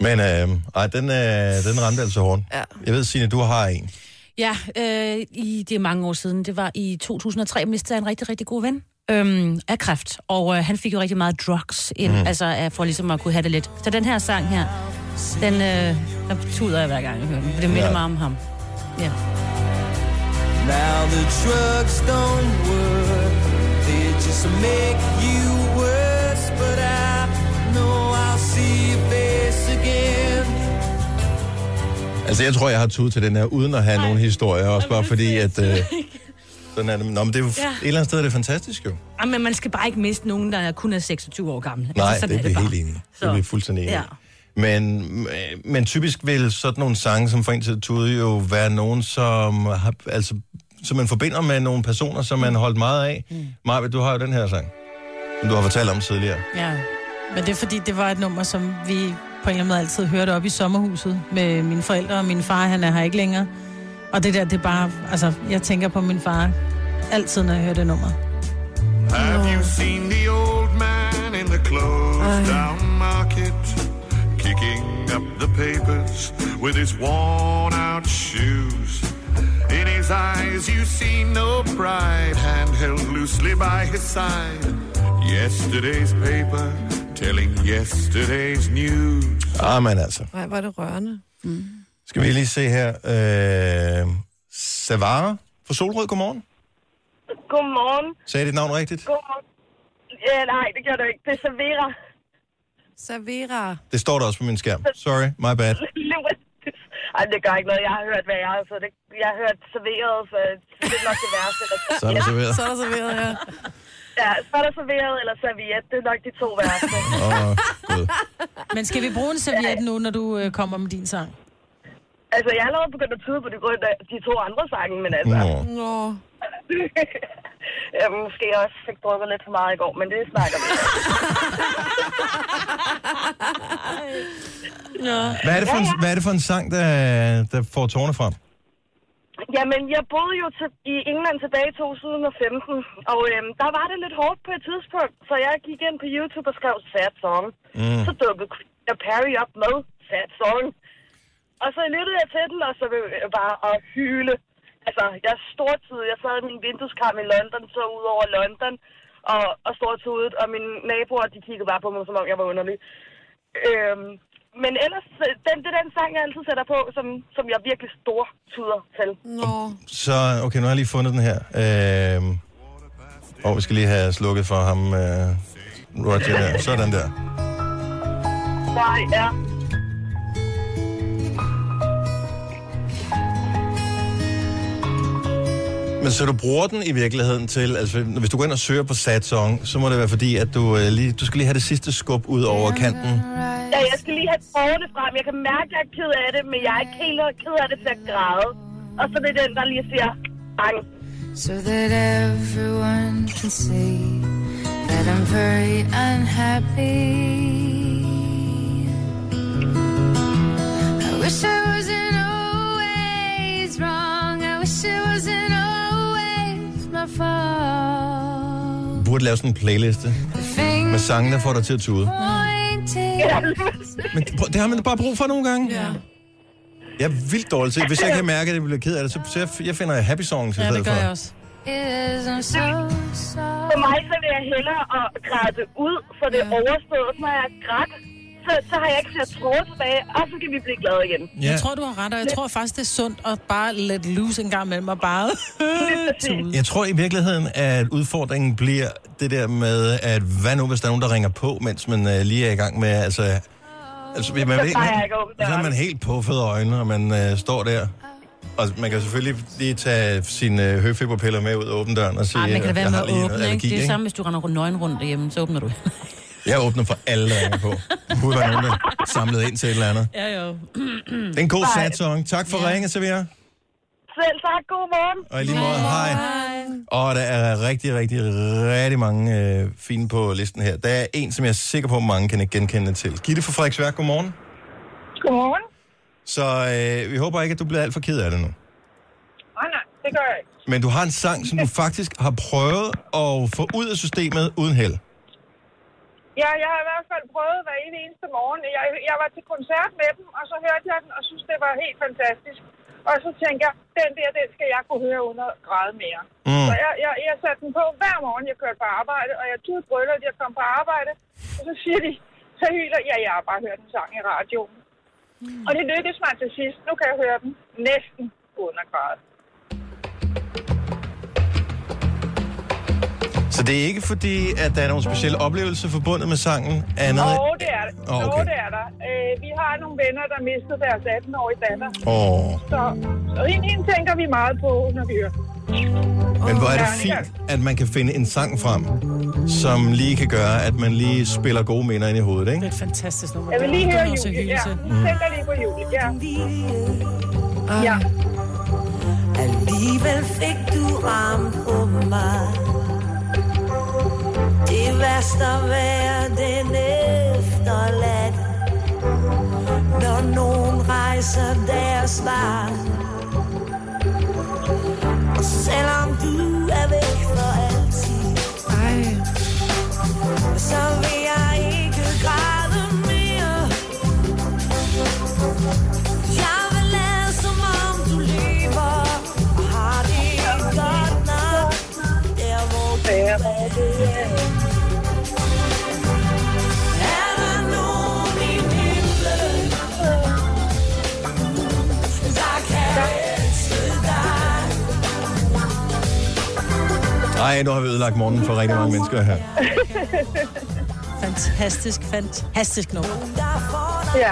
Speaker 1: Men øh, ej, den, øh, den ramte altså hårdt.
Speaker 5: Ja.
Speaker 1: Jeg ved, Signe, du har en.
Speaker 2: Ja, øh, i, det er mange år siden. Det var i 2003, mistede jeg en rigtig, rigtig god ven øhm, af kræft. Og øh, han fik jo rigtig meget drugs ind, mm. altså øh, for ligesom at kunne have det lidt. Så den her sang her, den, øh, der tuder jeg hver gang, jeg hører den. for Det minder
Speaker 1: Ja.
Speaker 2: ja. mig om ham. Ja.
Speaker 9: Now the drugs don't work, they just make you worse. But I know I'll see your face again.
Speaker 1: Altså, jeg tror, jeg har tudet til den her, uden at have nogen historie. Også bare fordi, at... Øh, sådan er det. Nå, men det er jo, ja.
Speaker 2: Ja.
Speaker 1: et eller andet sted er det fantastisk, jo.
Speaker 2: <laughs> Ej, men man skal bare ikke miste nogen, der er kun er 26 år gammel. Altså,
Speaker 1: Nej,
Speaker 2: sådan
Speaker 1: det er vi
Speaker 2: bare.
Speaker 1: helt enige. Det
Speaker 2: Så.
Speaker 1: er vi fuldstændig enige.
Speaker 2: Ja.
Speaker 1: Men, men typisk vil sådan nogle sange, som for en til tude, jo være nogen, som, har, altså, som man forbinder med nogle personer, som man holdt meget af. Mm. Maja, du har jo den her sang, som du har fortalt om tidligere.
Speaker 4: Ja, men det er fordi, det var et nummer, som vi på en eller anden måde altid hørte op i sommerhuset med mine forældre, og min far, han er her ikke længere. Og det der, det er bare, altså, jeg tænker på min far altid, når jeg hører det nummer.
Speaker 10: Have you seen the old man in the closed down market? Kicking up the papers with his worn out shoes. In his eyes, you see no pride, hand held loosely by his side. Yesterday's paper telling yesterday's news.
Speaker 1: Ah, men altså.
Speaker 5: Nej, hvor er det rørende.
Speaker 1: Skal vi lige se her. Øh, Savara fra Solrød, godmorgen.
Speaker 11: Godmorgen.
Speaker 1: Sagde jeg dit navn rigtigt?
Speaker 11: Godmorgen. Ja, nej, det gør du ikke. Det er Savera.
Speaker 5: Servera.
Speaker 1: Det står der også på min skærm. Sorry, my bad.
Speaker 11: Ej, det gør ikke noget. Jeg har hørt, hvad jeg har. Så det, jeg har hørt serveret, så det er nok det værste.
Speaker 1: Så er der serveret.
Speaker 5: Så er der serveret, ja.
Speaker 11: Ja, så er der serveret eller serviet. Det er nok de to værste.
Speaker 1: Åh, oh, gud.
Speaker 4: Men skal vi bruge en serviet nu, når du øh, kommer med din sang?
Speaker 11: altså, jeg er allerede begyndt at tyde på de, grund af de to andre sange, men altså...
Speaker 1: Nå.
Speaker 11: <laughs>
Speaker 5: Nå.
Speaker 11: jeg måske også fik drukket lidt for meget i går, men det snakker vi. om.
Speaker 1: Hvad er det for en, hvad er det for en sang, der, der får tårne frem?
Speaker 11: Jamen, jeg boede jo til, i England tilbage i 2015, og øhm, der var det lidt hårdt på et tidspunkt, så jeg gik ind på YouTube og skrev Sad Song. Mm. Så dukkede Katy Perry op med sad song. Og så lyttede jeg til den, og så blev jeg bare at hyle. Altså, jeg stortede. Jeg sad i min vindueskarm i London, så ud over London, og, og stortede, og mine naboer, de kiggede bare på mig, som om jeg var underlig. Øhm, men ellers, øh, den, det er den sang, jeg altid sætter på, som, som jeg virkelig store tuder til.
Speaker 5: Nå.
Speaker 1: Så, okay, nu har jeg lige fundet den her. Øh, og vi skal lige have slukket for ham, øh, Roger. Der. Sådan der.
Speaker 11: Nej, ja.
Speaker 1: Men så du bruger den i virkeligheden til, altså hvis du går ind og søger på sad song, så må det være fordi, at du, øh, lige, du skal lige have det sidste skub ud over kanten.
Speaker 11: ja. jeg skal lige have tårerne frem. Jeg kan mærke, at jeg er ked af det, men jeg er ikke helt ked af det til at græde. Og så er det den, der lige siger, bang.
Speaker 12: so that everyone can see that I'm very unhappy. I wish I wasn't always wrong. I wish it wasn't always my fault.
Speaker 1: Du burde lave sådan en playliste med sange, der får dig til at tude.
Speaker 12: Pointing.
Speaker 1: Men prøv, det har man bare brug for nogle gange. Ja. Jeg er vildt dårlig til, hvis jeg kan mærke, at jeg bliver ked af det, så, så jeg, jeg finder happy songs i stedet for.
Speaker 4: også.
Speaker 11: For mig så vil jeg hellere at græde ud, for det er overstået. Så når jeg er grædt, så, så har jeg ikke flere tråde tilbage, og så kan vi blive glade igen.
Speaker 4: Ja. Jeg tror, du har ret, og jeg tror faktisk, det er sundt at bare let loose en gang imellem og bare
Speaker 1: <laughs>
Speaker 4: tude.
Speaker 1: Jeg tror i virkeligheden, at udfordringen bliver det der med, at hvad nu, hvis der er nogen, der ringer på, mens man øh, lige er i gang med, altså... Altså, man, man,
Speaker 11: Så
Speaker 1: man,
Speaker 11: plejer jeg ikke at åbne
Speaker 1: så er
Speaker 11: døren.
Speaker 1: man helt puffet øjne, og man øh, står der. Og man kan selvfølgelig lige tage sine øh, høfeberpiller med ud og åbne døren og sige,
Speaker 2: Ej, man kan da
Speaker 1: at
Speaker 2: være
Speaker 1: jeg
Speaker 2: med
Speaker 1: har
Speaker 2: at
Speaker 1: lige noget
Speaker 2: åbne, ikke?
Speaker 1: allergi,
Speaker 2: Det er det samme, hvis du render rundt nøgen rundt derhjemme, så åbner du.
Speaker 1: Jeg åbner for alle, der ringer på. Det kunne være nogen, der samlede ind til et eller andet.
Speaker 2: ja, jo.
Speaker 1: Det er en god sad song. Tak for ja. ringen, Sevilla.
Speaker 11: Selv tak, god morgen.
Speaker 1: Og i lige måde, hej. Og der er rigtig, rigtig, rigtig mange øh, fine på listen her. Der er en, som jeg er sikker på, at mange kan ikke genkende til. Gitte fra Frederiksværk, godmorgen.
Speaker 11: Godmorgen.
Speaker 1: Så øh, vi håber ikke, at du bliver alt for ked af det nu.
Speaker 11: Åh, nej, det gør jeg ikke.
Speaker 1: Men du har en sang, som du faktisk har prøvet at få ud af systemet uden held.
Speaker 11: Ja, jeg har i hvert fald prøvet hver evig eneste morgen. Jeg, jeg var til koncert med dem, og så hørte jeg den, og synes det var helt fantastisk. Og så tænker jeg, den der, den skal jeg kunne høre under græde mere.
Speaker 13: Mm.
Speaker 11: Så jeg, jeg, jeg satte den på hver morgen, jeg kørte på arbejde, og jeg tudede brøller, at jeg kom på arbejde. Og så siger de, så hyler jeg, jeg har bare hørt den sang i radioen. Mm. Og det lykkedes mig til sidst. Nu kan jeg høre den næsten uden at græde.
Speaker 1: Så det er ikke fordi, at der er nogen speciel oplevelse forbundet med sangen. Andet...
Speaker 11: Åh, det er det. Oh,
Speaker 1: Åh, okay.
Speaker 11: okay. det er der. Øh, vi har nogle venner, der mistede deres 18-årige datter.
Speaker 1: Åh.
Speaker 11: Så, så hende, hende tænker vi meget på, når vi hører.
Speaker 1: Men hvor er det
Speaker 11: Ja,
Speaker 1: fint, at man kan finde en sang frem, som lige kan gøre, at man lige spiller gode minder ind i hovedet, ikke?
Speaker 4: Det er et fantastisk nummer.
Speaker 11: Jeg vil lige
Speaker 4: Den
Speaker 11: høre
Speaker 4: er også
Speaker 11: Julie. Ja,
Speaker 4: hyggeligt.
Speaker 11: nu
Speaker 1: Mm.
Speaker 11: tænker jeg lige på Julie. Ja. Ja.
Speaker 3: Ah. Alligevel fik du ramt på mig Det er værst at være den efterladt Når nogen rejser deres vej Og selvom du er væk for altid Så vil jeg ikke græde mere jeg vil lade som om du lever og har det godt nok der hvor du er. Er der nogen i himlen, der kan elske dig?
Speaker 1: Nej, nu har vi ødelagt morgenen for rigtig mange mennesker her.
Speaker 4: Fantastisk, fantastisk nummer.
Speaker 11: Ja.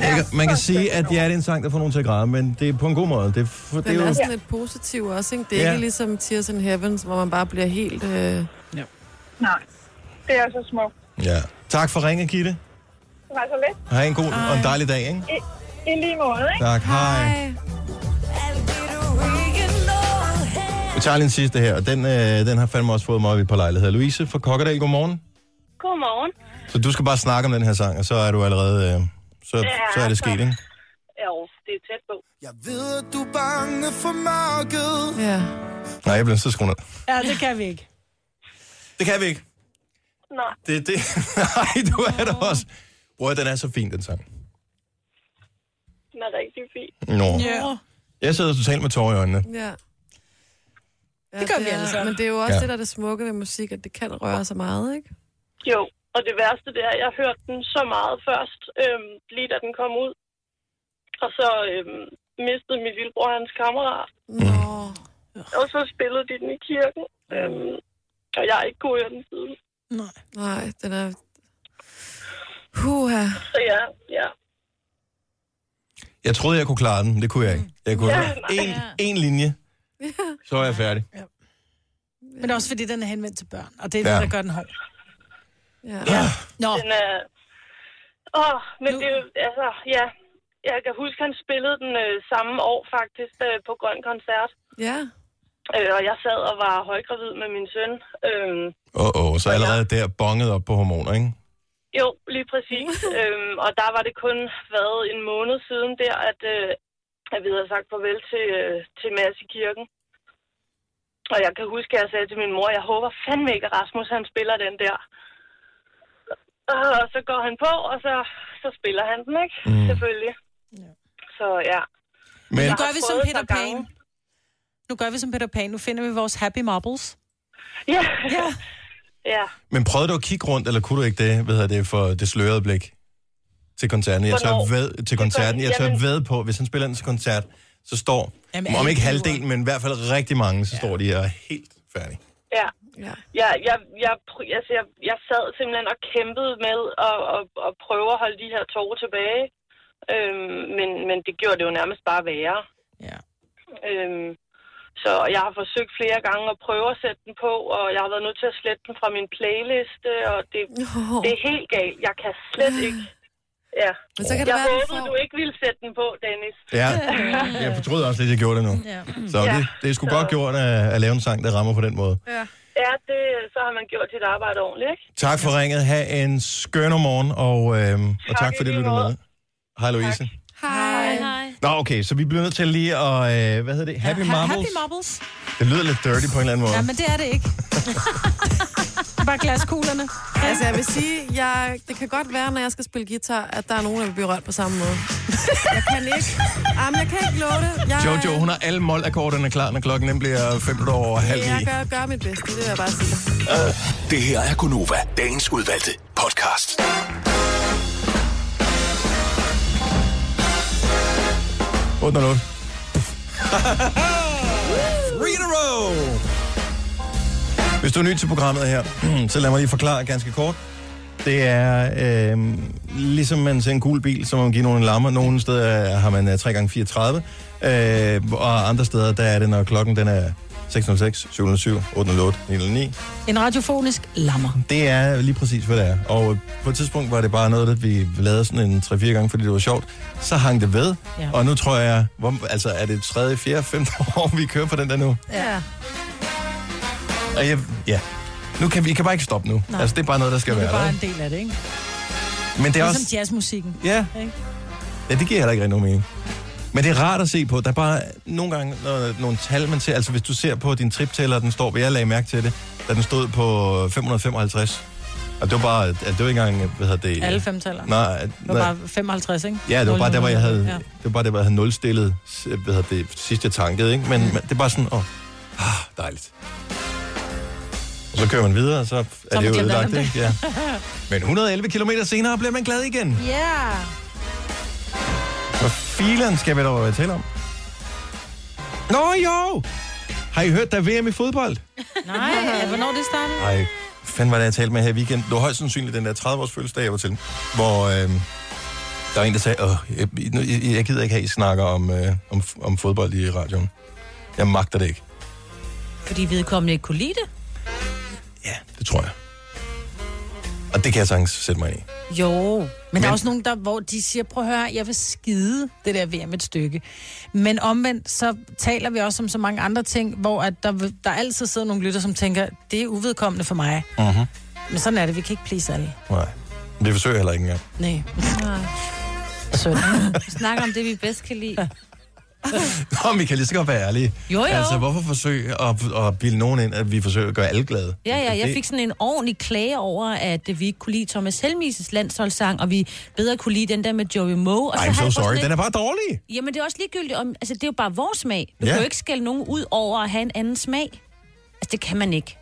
Speaker 1: Jeg, kan- man kan sige, at ja, det er en sang, der får nogen til at græde, men det er på en god måde. Det, er for, det
Speaker 5: Den
Speaker 1: er
Speaker 5: er
Speaker 1: jo,
Speaker 5: sådan lidt positiv også, ikke? Det er
Speaker 1: Ja.
Speaker 5: ikke ligesom Tears in Heavens, hvor man bare bliver helt... Øh...
Speaker 4: Ja.
Speaker 11: Nej, det er så smukt.
Speaker 1: ja. Tak for ringen, Gitte.
Speaker 11: Det var så lidt.
Speaker 1: Ha' en god og en dejlig dag, ikke?
Speaker 11: I, I lige måde, ikke?
Speaker 1: Tak, hej. Vi tager lige en sidste her, og den, øh, den har fandme også fået mig op på lejlighed. Louise fra Kokkedal, godmorgen.
Speaker 13: Godmorgen.
Speaker 1: Så du skal bare snakke om den her sang, og så er du allerede... Øh, så,
Speaker 13: Ja,
Speaker 1: så er altså. det
Speaker 13: så-
Speaker 1: sket, ikke?
Speaker 13: Ja, jo, det er tæt på. Jeg ved, at du er
Speaker 9: Bange for mørket.
Speaker 5: Ja.
Speaker 1: Nej, jeg bliver så skruet ned.
Speaker 4: Ja, det kan vi ikke.
Speaker 1: Det kan vi ikke.
Speaker 11: Nej.
Speaker 1: <laughs> Det, det, nej, du er der også. Bror, den er så fin, den sang.
Speaker 13: den er rigtig fin.
Speaker 1: Nå. Jeg sidder totalt med tårer i øjnene.
Speaker 5: Ja. Ja,
Speaker 13: Det gør vi
Speaker 5: er-
Speaker 13: alle sammen.
Speaker 5: Men det er jo også
Speaker 1: Ja.
Speaker 5: ja. det, der er det smukke ved musik, at det kan røre så meget, ikke?
Speaker 13: Jo, og det værste det er, at jeg hørte den så meget først, øhm, lige da den kom ud. Og så øhm, mistede min lillebror hans kammerat.
Speaker 5: Nå.
Speaker 13: Og så spillede de den i kirken. Øhm, og jeg er ikke god i den siden.
Speaker 4: Nej.
Speaker 5: Nej, den er... Huha.
Speaker 13: Så ja, ja.
Speaker 1: Jeg troede, jeg kunne klare den. Det kunne jeg ikke. Jeg kunne
Speaker 4: Ja,
Speaker 1: en,
Speaker 4: nej.
Speaker 1: en linje,
Speaker 4: Ja.
Speaker 1: så er jeg færdig.
Speaker 4: Men det er også fordi, den er henvendt til børn, og det er
Speaker 1: Ja.
Speaker 4: ja. det, der gør den hård.
Speaker 5: Ja.
Speaker 4: Nå.
Speaker 13: Den er... Åh, oh, men det er jo- altså, ja. Jeg kan huske, han spillede den øh, samme år faktisk øh, på Grøn Koncert.
Speaker 5: Ja.
Speaker 13: Øh, og jeg sad og var højgravid med min søn. Øh,
Speaker 1: Åh, åh, så allerede der bonget op på hormoner, ikke?
Speaker 13: jo, lige
Speaker 4: <laughs>
Speaker 13: præcis. øhm, og der var det kun været en måned siden der, at, øh, at vi havde sagt farvel til, øh, til Mads i kirken. Og jeg kan huske, at jeg sagde til min mor, jeg håber fandme ikke, at Rasmus han spiller den der. Og så går han på, og så, så spiller han den, ikke? Mm. Selvfølgelig. Så ja.
Speaker 4: Men
Speaker 13: Jeg
Speaker 4: nu
Speaker 13: har
Speaker 4: gør vi som
Speaker 13: prøvet et
Speaker 4: Peter
Speaker 13: par gange.
Speaker 4: Pan. Nu gør vi som Peter Pan. Nu finder vi vores happy marbles.
Speaker 13: Ja.
Speaker 4: ja.
Speaker 13: Ja.
Speaker 1: Men prøvede du at kigge rundt, eller kunne du ikke det, hvad hedder det, for det slørede blik til koncerten? Jeg tør
Speaker 13: Hvornår?
Speaker 1: ved, til koncerten. Jeg tør
Speaker 13: Jamen-
Speaker 1: ved på, hvis han spiller den til koncert, så står,
Speaker 13: Jamen,
Speaker 1: om
Speaker 13: alle
Speaker 1: ikke
Speaker 13: giver.
Speaker 1: halvdelen, men i hvert fald rigtig mange, så står de her helt færdige.
Speaker 13: Ja. Jeg, jeg, jeg, pr- altså, jeg, jeg sad simpelthen og kæmpede med at, at, at prøve at holde de her tårer tilbage. Øhm, men, men det gjorde det jo nærmest bare værre.
Speaker 4: Ja.
Speaker 13: Øhm, så jeg har forsøgt flere gange at prøve at sætte den på, og jeg har været nødt til at slette den fra min playliste, og det,
Speaker 5: Nå.
Speaker 13: det er helt galt. Jeg kan slet ikke. Ja.
Speaker 5: Men så kan det
Speaker 13: jeg
Speaker 5: være, du
Speaker 13: håbede,
Speaker 5: får-
Speaker 13: du ikke ville sætte den på, Dennis.
Speaker 1: Ja, jeg fortryder også lidt, jeg gjorde det nu.
Speaker 13: Ja.
Speaker 1: Så det, det er sgu godt gjort at, at lave en sang, der rammer på den måde.
Speaker 13: Ja. ja, det, så har man gjort sit arbejde ordentligt, ikke?
Speaker 1: Tak for ringet. Ha' en skøn morgen, og, øhm, og tak
Speaker 13: i
Speaker 1: for det,
Speaker 13: lige
Speaker 1: du lyttede
Speaker 13: måde.
Speaker 1: med. Hej Louise.
Speaker 5: Hej.
Speaker 2: Hej.
Speaker 1: Nå, okay, så vi bliver nødt til lige at, øh, hvad hedder det, Happy Marbles.
Speaker 4: Happy marbles.
Speaker 1: Det lyder lidt dirty på en eller anden måde.
Speaker 4: Ja, men det er det ikke. Bare glaskuglerne.
Speaker 5: <laughs> Altså, jeg vil sige, jeg, det kan godt være, når jeg skal spille guitar, at der er nogen, der vil blive rørt på samme måde. Jeg kan ikke. Jamen, jeg kan ikke love det. Jeg,
Speaker 1: Jojo, hun har alle målakkorderne klar, når klokken den bliver 5 over halv
Speaker 5: jeg
Speaker 1: i.
Speaker 5: gør, gør mit bedste, det vil jeg bare sige.
Speaker 7: Det her er Gunova, dagens udvalgte podcast.
Speaker 1: Under nul. Three in a row! Hvis du er ny til programmet her, <clears throat> så lad mig lige forklare ganske kort. Det er øh, ligesom man ser en gul bil, så må man give nogen en lammer. Nogle steder har man øh, 3x34, øh, og andre steder der er det, når klokken den er 606, 707, 808, 909.
Speaker 4: En radiofonisk lammer.
Speaker 1: Det er lige præcis, hvad det er. Og på et tidspunkt var det bare noget, at vi lavede sådan en 3-4 gange, fordi det var sjovt. Så hang det ved, ja.
Speaker 4: Ja.
Speaker 1: og nu tror jeg, hvor, altså er det tredje, fjerde, femte <laughs> år, vi kører på den der nu.
Speaker 4: Ja.
Speaker 1: Og jeg, ja, nu kan vi I kan bare ikke stoppe nu. Nej.
Speaker 4: Nej.
Speaker 1: Altså det er bare noget, der skal
Speaker 4: Det er
Speaker 1: være
Speaker 4: bare
Speaker 1: der.
Speaker 4: en del af det, ikke?
Speaker 1: ikke? Men det er
Speaker 4: ligesom
Speaker 1: også,
Speaker 4: jazzmusikken.
Speaker 1: Ja.
Speaker 4: Ikke?
Speaker 1: ja, det giver heller ikke rigtig nogen mening. Men det er rart at se på. Der er bare nogle gange når, nogle tal, man ser. Altså hvis du ser på din triptæller, den står, jeg lagde mærke til det, da den stod på 555. Og det var bare, altså, det var ikke engang, hvad hedder det?
Speaker 4: Alle femtaller.
Speaker 1: Nej,
Speaker 4: Det var
Speaker 1: nej.
Speaker 4: bare 55, ikke?
Speaker 1: Ja, det var bare der, hvor jeg havde,
Speaker 4: Ja.
Speaker 1: det var bare der, hvor jeg havde nulstillet, s- hvad hedder det, sidst jeg tankede, ikke? Men, men det er bare sådan, åh, ah, dejligt. Og så kører man videre, og så er
Speaker 4: har
Speaker 1: det
Speaker 4: man
Speaker 1: jo
Speaker 4: glemt alt
Speaker 1: ødelagt,
Speaker 4: om
Speaker 1: ikke?
Speaker 4: det.
Speaker 1: Ja. Men 111 km senere bliver man glad igen.
Speaker 4: <laughs> Ja.
Speaker 1: Hvor filen skal vi dog være tale om? Nå jo! Har I hørt, der er VM i fodbold?
Speaker 4: Nej, hvornår det startede?
Speaker 1: Ej, fanden var det, jeg talte med her i weekenden. Det var højst sandsynligt den der 30-års fødselsdag, jeg var til. Hvor øh, der var en, der sagde, Åh, jeg, nu- jeg, jeg gider ikke have, I snakker om, øh, om, f- om fodbold i radioen. Jeg magter det ikke.
Speaker 2: Fordi vedkommende ikke kunne lide det.
Speaker 1: Det tror jeg. Og det kan jeg sagtens sætte mig ind i.
Speaker 4: Jo, men, men der
Speaker 1: Men-
Speaker 4: er også nogen, der, hvor de siger, prøv at høre, jeg vil skide det der VM et stykke. Men omvendt, så taler vi også om så mange andre ting, hvor at der, vil- der altid sidder nogle lytter, som tænker, det er uvedkommende for mig.
Speaker 1: Uh-huh.
Speaker 4: Men sådan er det, vi kan ikke please alle.
Speaker 1: Nej. Vi forsøger jeg heller ikke engang.
Speaker 4: Nej.
Speaker 2: Vi snakker om det, vi bedst kan lide.
Speaker 1: <laughs> Nå, men vi kan lige så godt være ærlige.
Speaker 2: Jo, jo.
Speaker 1: Altså, hvorfor forsøge at, at bilde nogen ind, at vi forsøger at gøre alle glade?
Speaker 2: Ja, ja, jeg
Speaker 1: Det-
Speaker 2: fik sådan en ordentlig klage over, at øh, vi ikke kunne lide Thomas Helmises landsholdssang, og vi bedre kunne lide den der med Joey Moe. Og
Speaker 1: I'm
Speaker 2: har
Speaker 1: so
Speaker 2: jeg bare
Speaker 1: sorry.
Speaker 2: sådan
Speaker 1: Den er bare dårlig.
Speaker 2: Jamen, det er også ligegyldigt. Om, altså, det er jo bare vores smag. Du
Speaker 1: Ja.
Speaker 2: ja. kan jo ikke skælde nogen ud over at have en anden smag. Altså, det kan man ikke.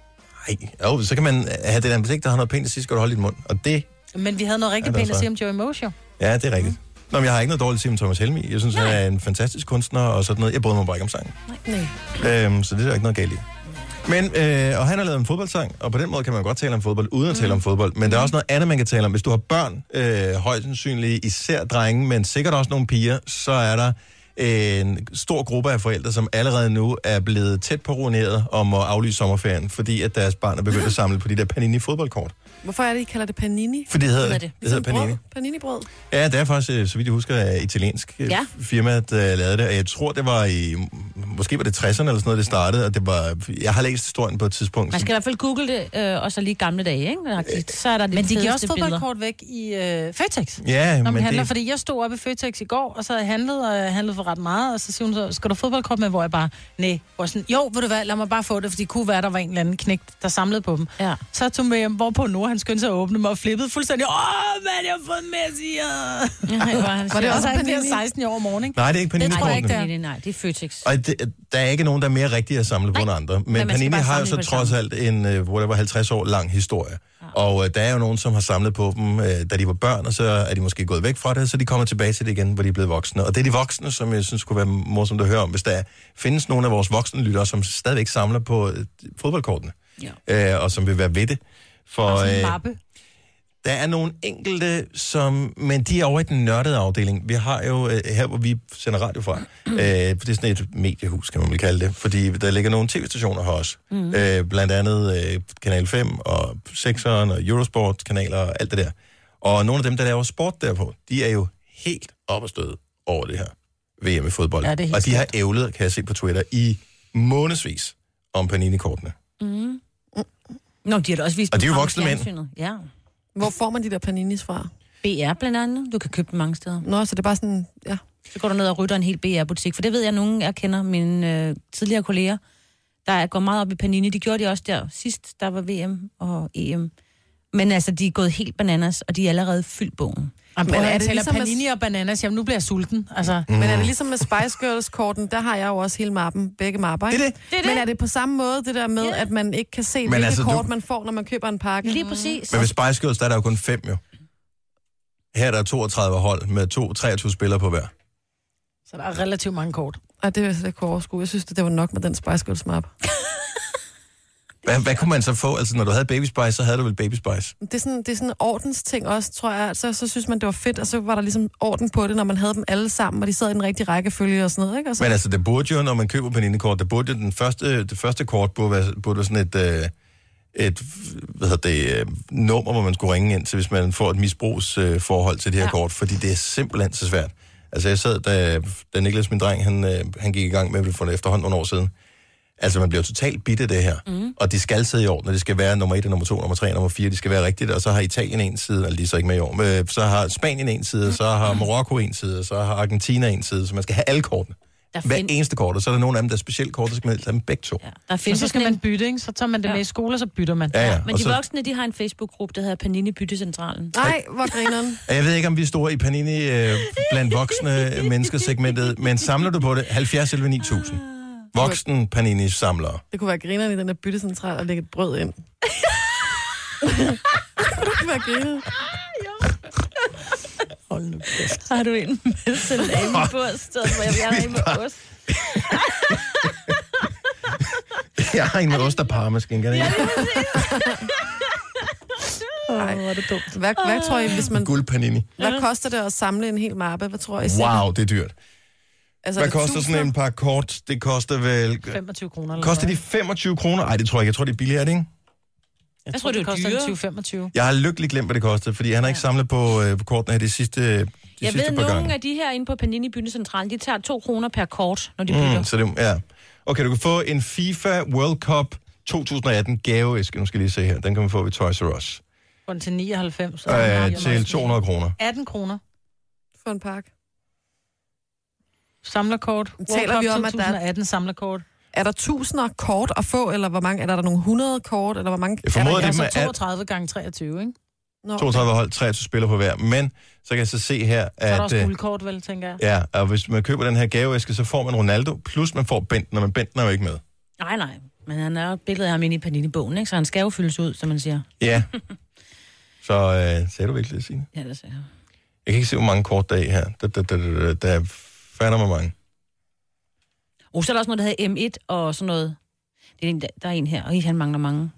Speaker 1: Nej, jo, så kan man have det der blik, der har noget pænt, så skal du holde dit mund. Og det,
Speaker 4: <laughs> Men vi havde noget rigtig
Speaker 1: Ja, det er
Speaker 4: pænt at
Speaker 1: så-
Speaker 4: sige om Joey Mojo.
Speaker 1: ja, det er rigtigt.
Speaker 2: Mhm.
Speaker 1: Nå, men jeg har ikke noget dårligt at sige om Thomas Helmi. Jeg synes, han er en fantastisk kunstner og sådan noget. Jeg bryder mig bare ikke om sangen.
Speaker 5: Nej.
Speaker 1: Øhm, så det er der ikke noget galt i. Men, øh, og han har lavet en fodboldsang, og på den måde kan man godt tale om fodbold, uden at tale
Speaker 2: Mm.
Speaker 1: om fodbold. Men der er også noget andet, man kan tale om. Hvis du har børn, øh, højst sandsynligt især drenge, men sikkert også nogle piger, så er der øh, en stor gruppe af forældre, som allerede nu er blevet tæt på ruineret om at aflyse sommerferien, fordi at deres barn er begyndt at samle på de der Panini-fodboldkort.
Speaker 5: Hvorfor er det, I kalder det panini?
Speaker 1: For det hedder-
Speaker 5: Hvad er
Speaker 1: det hedder
Speaker 5: Ligesom brød.
Speaker 1: panini.
Speaker 5: Panini-brød.
Speaker 1: Ja, det er faktisk, øh, så vidt jeg husker, et italiensk ja.
Speaker 5: Ja.
Speaker 1: firma, der lavede det. Og jeg tror, det var i... Måske var det 60'erne eller sådan noget, det startede. Og det var, jeg har læst historien på et tidspunkt.
Speaker 2: Man skal i hvert fald google det, øh, og så lige gamle dage,
Speaker 1: Øh,
Speaker 2: ikke? Så er der de
Speaker 4: Men de giver også
Speaker 2: fedeste billeder.
Speaker 4: fodboldkort væk i øh, Føtex.
Speaker 1: Ja,
Speaker 4: Når man
Speaker 1: men
Speaker 4: handler,
Speaker 1: det-
Speaker 4: fordi jeg stod oppe i Føtex i går, og så havde jeg handlet, og jeg handlede for ret meget, og så siger hun så, skal du have fodboldkort med, hvor jeg bare, nej, hvor sådan, jo, ved du hvad, lad mig bare få det, fordi det kunne være, der var en eller anden knægt, der samlede på dem.
Speaker 2: Ja.
Speaker 4: Så tog hun med hjem, hvorpå Nora, han skyndte sig at åbne mig og flippede fuldstændig, åh, mand, jeg har fået
Speaker 2: <laughs>
Speaker 4: Messi, ja.
Speaker 2: Nej, hvor er han
Speaker 4: Var det
Speaker 2: sjov.
Speaker 4: også han bliver
Speaker 2: Panini?
Speaker 4: 16 i år morgen, ikke?
Speaker 1: Nej, det er ikke
Speaker 4: Det tror jeg
Speaker 1: Panini-kortene.
Speaker 4: ikke, det er.
Speaker 2: Nej, nej, det er Føtex.
Speaker 1: Og det, der er ikke nogen, der er mere rigtige at samle på end andre. Men,
Speaker 2: man
Speaker 1: men
Speaker 2: skal
Speaker 1: Panini
Speaker 2: bare
Speaker 1: har jo
Speaker 2: samle
Speaker 1: så
Speaker 2: på det Ah.
Speaker 1: trods alt en, øh, hvor det var 50 år lang historie. Og øh, der er jo nogen, som har samlet på dem, øh, da de var børn, og så er de måske gået væk fra det, så de kommer tilbage til det igen, hvor de er blevet voksne. Og det er de voksne, som jeg synes kunne være morsomt at høre om, hvis der findes nogle af vores voksne lyttere, som stadigvæk samler på øh, fodboldkortene, ja. øh, og som vil være ved det. For, øh, der er nogle enkelte, som, men de er over i den nørdede afdeling. Vi har jo, øh, her hvor vi sender radio fra,
Speaker 4: Mm.
Speaker 1: øh, det er sådan et mediehus, kan man vel kalde det, fordi der ligger nogle tv-stationer her også. Mm.
Speaker 7: Mhm.
Speaker 1: Øh, blandt andet øh, Kanal 5 og 6'eren og Eurosport-kanaler og alt det der. Og nogle af dem, der laver sport derpå, de er jo helt op og støde over det her VM i fodbold.
Speaker 4: Ja, det er helt
Speaker 1: og de har ævlet, kan jeg se på Twitter, i månedsvis om Panini-kortene.
Speaker 2: Mm. Nå, de har da også vist
Speaker 1: Og de er jo
Speaker 2: dem frem i
Speaker 1: voksne mænd.
Speaker 2: fjernsynet. Ja.
Speaker 5: Hvor får man de der paninis fra?
Speaker 2: BR blandt andet. Du kan købe dem mange steder.
Speaker 5: Nå, så det er bare sådan, ja.
Speaker 2: Så går du ned og rytter en hel BR-butik, for det ved jeg, at nogen jeg kender mine øh, tidligere kolleger, der går meget op i Panini. De gjorde det også der sidst, der var VM og EM. Men altså, de er gået helt bananas, og de er allerede fyldt bogen.
Speaker 4: Jamen, prøv, Men er det ligesom panini og bananas? Jamen, nu bliver jeg sulten. Altså.
Speaker 5: Mm. Men er det ligesom med Spice Girls-korten, der har jeg jo også hele mappen, begge mapper. Ikke?
Speaker 4: Det er det. Det er det.
Speaker 5: Men er det på samme måde, det der med, at man ikke kan se,
Speaker 1: Men
Speaker 5: hvilke
Speaker 1: altså, du-
Speaker 5: kort man får, når man køber en pakke?
Speaker 2: Lige præcis.
Speaker 1: Men ved Spice Girls, der er der jo kun fem jo. Her er der 32 hold med to, 23 spillere på hver.
Speaker 4: Så der er relativt mange kort.
Speaker 5: Og det vil jeg slet ikke kunne overskue. Jeg synes, det, det var nok med den Spice Girls map.
Speaker 1: Hvad, hvad kunne man så få? Altså, når du havde Baby Spice, så havde du vel Baby Spice?
Speaker 5: Det er sådan, det er sådan en ordensting også, tror jeg. Så, så synes man, det var fedt, og så var der ligesom orden på det, når man havde dem alle sammen, og de sad i den rigtige rækkefølge og sådan noget. Ikke? Og så,
Speaker 1: Men altså, det burde jo, når man køber Panini-kort, det burde jo, den første, det første kort burde være, burde være sådan et, øh, et hvad hedder det, øh, nummer, hvor man skulle ringe ind til, hvis man får et misbrugsforhold øh, forhold til det her ja. kort, fordi det er simpelthen så svært. Altså, jeg sad, da, da Niklas, min dreng, han, øh, han gik i gang med det for efterhånden nogle år siden. Altså, man bliver jo totalt bidt af det her.
Speaker 2: Mhm.
Speaker 1: Mm. Og de skal sidde i orden, og det skal være nummer 1, nummer 2, nummer 3, nummer 4, de skal være rigtigt. Og så har Italien en side, eller de er så ikke med i år, men øh, så har Spanien en side, så har
Speaker 2: Mhm.
Speaker 1: Marokko en side, og så har Argentina en side, så man skal have alle kortene.
Speaker 2: Der
Speaker 1: Hver eneste kort, og så er der nogle af dem, der er specielt kort, så skal man have dem begge to. Ja,
Speaker 2: Der
Speaker 4: Og
Speaker 2: findes
Speaker 4: så skal man bytte, ikke? Så tager man det med i skole, og så bytter man.
Speaker 1: ja. ja.
Speaker 2: Men
Speaker 1: og
Speaker 2: de
Speaker 1: så,
Speaker 2: voksne, de har en Facebook-gruppe, der hedder Panini Byttecentralen.
Speaker 5: Nej, hvor
Speaker 2: <laughs>
Speaker 5: grineren.
Speaker 1: Og Jeg ved ikke, om vi er store i Panini øh, blandt voksne menneskesegmentet, men samler du på det? 70 11 9000. Voksen Panini-samlere.
Speaker 5: det kunne være grineren i den der byttecentral og lægge et brød ind. <laughs> det kunne være grineren.
Speaker 2: Hold nu kæft. Har du en med salami på et sted, hvor jeg
Speaker 5: <laughs>
Speaker 2: vil have med ost?
Speaker 1: Jeg har en med ost og parmaskin, kan jeg ikke?
Speaker 5: Nej, hvor er det dumt. Hvad, hvad tror I, hvis man...
Speaker 1: Guldpanini.
Speaker 5: Hvad koster det at samle en hel mappe? Hvad tror I?
Speaker 1: Wow, det er dyrt.
Speaker 5: Altså, er
Speaker 1: Hvad
Speaker 5: det
Speaker 1: koster sådan en
Speaker 5: tusinder?
Speaker 1: par kort? Det koster vel...
Speaker 4: 25 kroner. Eller
Speaker 1: Koster
Speaker 4: hvad?
Speaker 1: de 25 kroner? Nej, det tror jeg ikke. Jeg tror, det er billigere, er det ikke?
Speaker 4: Jeg,
Speaker 2: tror,
Speaker 4: tror,
Speaker 2: det er
Speaker 4: det koster
Speaker 2: dyrere.
Speaker 4: 20-25.
Speaker 1: Jeg har lykkelig glemt, hvad det kostede, fordi han har ikke samlet på, øh, på kortene her de sidste, de
Speaker 2: Jeg
Speaker 1: sidste
Speaker 2: ved,
Speaker 1: par gange.
Speaker 2: nogle af de her inde på Panini Byttecentralen, de tager to kroner per kort, når de bytter.
Speaker 1: Mm, så det, ja. Okay, du kan få en FIFA World Cup 2018 gaveæske. Nu skal jeg lige se her. Den kan man få ved Toys R Us.
Speaker 4: Får den til 99.
Speaker 1: Øh, til 200 kroner.
Speaker 4: 18 kroner.
Speaker 5: For en pakke.
Speaker 4: samlerkort.
Speaker 5: Taler vi om, at der
Speaker 4: 2018 samlerkort.
Speaker 5: Er der tusinder kort at få, eller hvor mange? Er der, der nogle 100 kort, eller hvor mange?
Speaker 1: Jeg formoder,
Speaker 5: er der,
Speaker 1: det
Speaker 5: så
Speaker 1: med alt-
Speaker 4: 32 Altså, gange 23, ikke?
Speaker 5: Nå.
Speaker 1: 32 hold, 23 spillere på hver. Men så kan jeg så se her,
Speaker 4: Så er der
Speaker 1: at...
Speaker 4: også
Speaker 1: øh,
Speaker 4: guldkort, vel, tænker jeg.
Speaker 1: Ja, og hvis man køber den her gaveæske, så får man Ronaldo, plus man får Bentner, men Bentner er jo ikke med.
Speaker 2: Nej, nej. Men han er jo et billede af ham inde i Pernille-bogen, ikke? Så han skal jo fyldes ud, som man siger.
Speaker 1: Ja. Så øh, sagde du virkelig det, Signe?
Speaker 2: Ja, det siger jeg.
Speaker 1: Jeg kan ikke se, hvor mange kort der er i her. Der, der, der, der, der er fandme hvor mange.
Speaker 2: Og så er der også noget, der hedder M1 og sådan noget. Det er en, der, der er en her, og I, han mangler mange.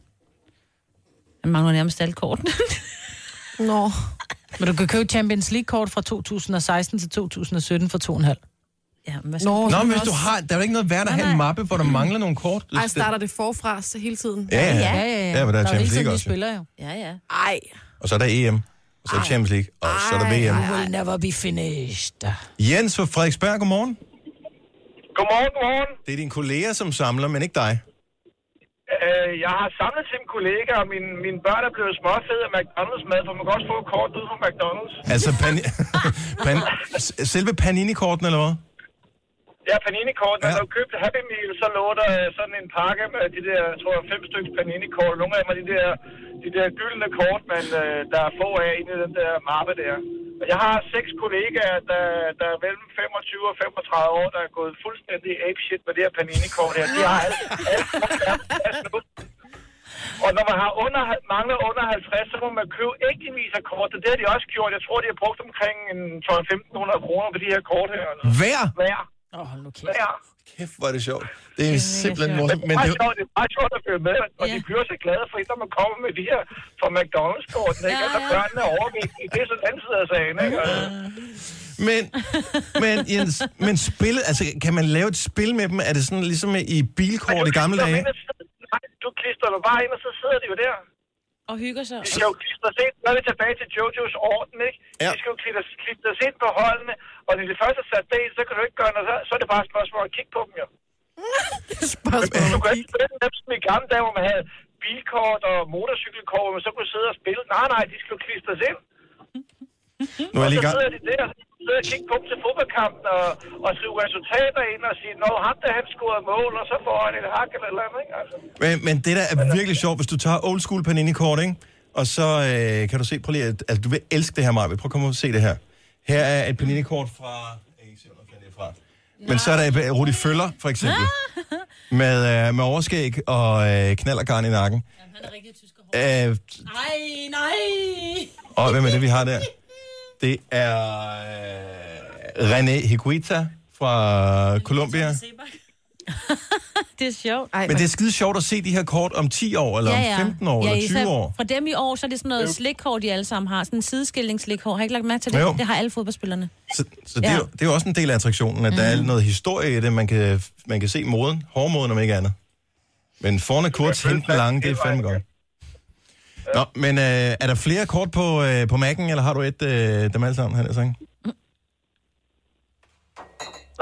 Speaker 2: Han mangler nærmest alle kortene.
Speaker 5: Nå.
Speaker 4: Men du kan købe Champions League-kort fra 2016 til 2017 for 2,5.
Speaker 2: <laughs> Ja, men hvad
Speaker 5: Nå,
Speaker 1: Nå, men hvis du har... Der er jo ikke noget værd at have en mappe, hvor der mangler nogle kort.
Speaker 5: Ej, starter det forfra så hele tiden?
Speaker 1: Ja, ja. Ja, ja, ja. Ja, men der er
Speaker 4: jo hele tiden,
Speaker 1: Champions League
Speaker 4: de
Speaker 1: også, jo.
Speaker 4: spiller jo.
Speaker 2: Ja, ja.
Speaker 5: Ej.
Speaker 1: Og så er der EM, og så er der Champions League, og så er der VM.
Speaker 4: You will never be finished.
Speaker 1: Jens fra Frederiksberg, godmorgen.
Speaker 14: Godmorgen, godmorgen.
Speaker 1: Det er din kollega, som samler, men ikke dig.
Speaker 14: Øh, jeg har samlet til en kollega, og mine, mine børn er blevet småfede af McDonald's-mad, for man kan også få et kort ud fra McDonald's.
Speaker 1: Altså, pan...
Speaker 14: <laughs>
Speaker 1: pan... s- selve Panini-korten, eller hvad?
Speaker 14: Ja, Panini-kort. Når ja. du købte Happy Meal, så lå der øh, sådan en pakke med de der, jeg tror jeg, fem stykker Panini-kort. Nogle af dem er de der, de der gyldne kort, man, øh, der er få af inde i den der mappe der. Og Jeg har seks kollegaer, der, der er mellem 25 og 35 år, der er gået fuldstændig apeshit med det her Panini-kort her. De har alt, alt, alt, alt nu. Og når man har under, mangler under 50, så må man købe ægtevis af kort. Det har de også gjort. Jeg tror, de har brugt omkring en 12-1500 kroner på de her kort her.
Speaker 1: Hver?
Speaker 14: Hver.
Speaker 4: Åh, oh, hold nu kæft.
Speaker 14: Hver.
Speaker 1: Kæft, hvor er det sjovt. Det er simpelthen
Speaker 14: Men
Speaker 1: morsomt.
Speaker 14: det
Speaker 1: Men
Speaker 14: er
Speaker 1: det,
Speaker 14: meget sjovt, det er meget sjovt at følge med, og de bliver så glade for, når man kommer med de her fra McDonald's-korten, ikke? Og så børnene er overvægtige. Det er sådan anden side af sagen, ikke? Og,
Speaker 1: Men, men, Jens, men spil, altså, kan man lave et spil med dem? Er det sådan ligesom i bilkort i gamle dage?
Speaker 14: Nej, du klister dig bare ind, og så sidder de jo der.
Speaker 2: Og hygger sig.
Speaker 14: De skal jo klistre set, når vi er tilbage til Jojos orden, ikke? Ja. De skal jo klistre- klistre set på holdene, og når de først er sat del, så kan du ikke gøre noget, så, så er det bare et spørgsmål at kigge på dem, jo. spørgsmål Du kan ikke spille dem som i gamle dage, hvor man havde bilkort og motorcykelkort, hvor man så kunne sidde og spille. Nej, nej, de skal jo klistres ind.
Speaker 1: Nu er jeg lige i
Speaker 14: Og så
Speaker 1: gang.
Speaker 14: sidder de der, sidder og kigger på dem til fodboldkampen og, og skriver resultater ind og siger, når ham der han scorede mål, og så får han et hak eller et eller andet, ikke? Altså.
Speaker 1: Men, men det der er virkelig sjovt, hvis du tager old school Panini-kort, ikke? Og så øh, kan du se, prøv lige, at, altså, du vil elske det her, Marvind. Prøv at komme og se det her. Her er et Panini-kort fra... Jeg kan ikke se, hvor fanden det er fra. Men så er der et- øh, Rudi Føller, for <laughs> eksempel. Med, øh, med overskæg og øh, knallergarn i nakken. Øh, Han er rigtig tysker.
Speaker 2: Nej, nej.
Speaker 1: Øh, og hvem er det, vi har der? Det er øh, René Higuita fra Colombia.
Speaker 2: <laughs> det er sjovt. Ej,
Speaker 1: Men det er skide sjovt at se de her kort om 10 år, eller om 15 år,
Speaker 2: ja,
Speaker 1: eller
Speaker 2: især
Speaker 1: 20 år.
Speaker 2: Fra dem i år, så er det sådan noget slikkår, de alle sammen har. Sådan en sideskilningsslikkår. Har I ikke lagt mærke til det?
Speaker 1: Jo.
Speaker 2: Det har alle fodboldspillerne.
Speaker 1: Så, så det, er
Speaker 2: Ja. Mhm.
Speaker 1: jo, det er jo også en del af attraktionen, at mm. der er noget historie i det. Man kan, man kan se moden, hårdmoden om ikke andet. Men forne kort, hinten lange, det er fandme godt. Nå, men øh, er der flere kort på, øh, på Mac'en, eller har du et øh, dem alle sammen, han er sagt?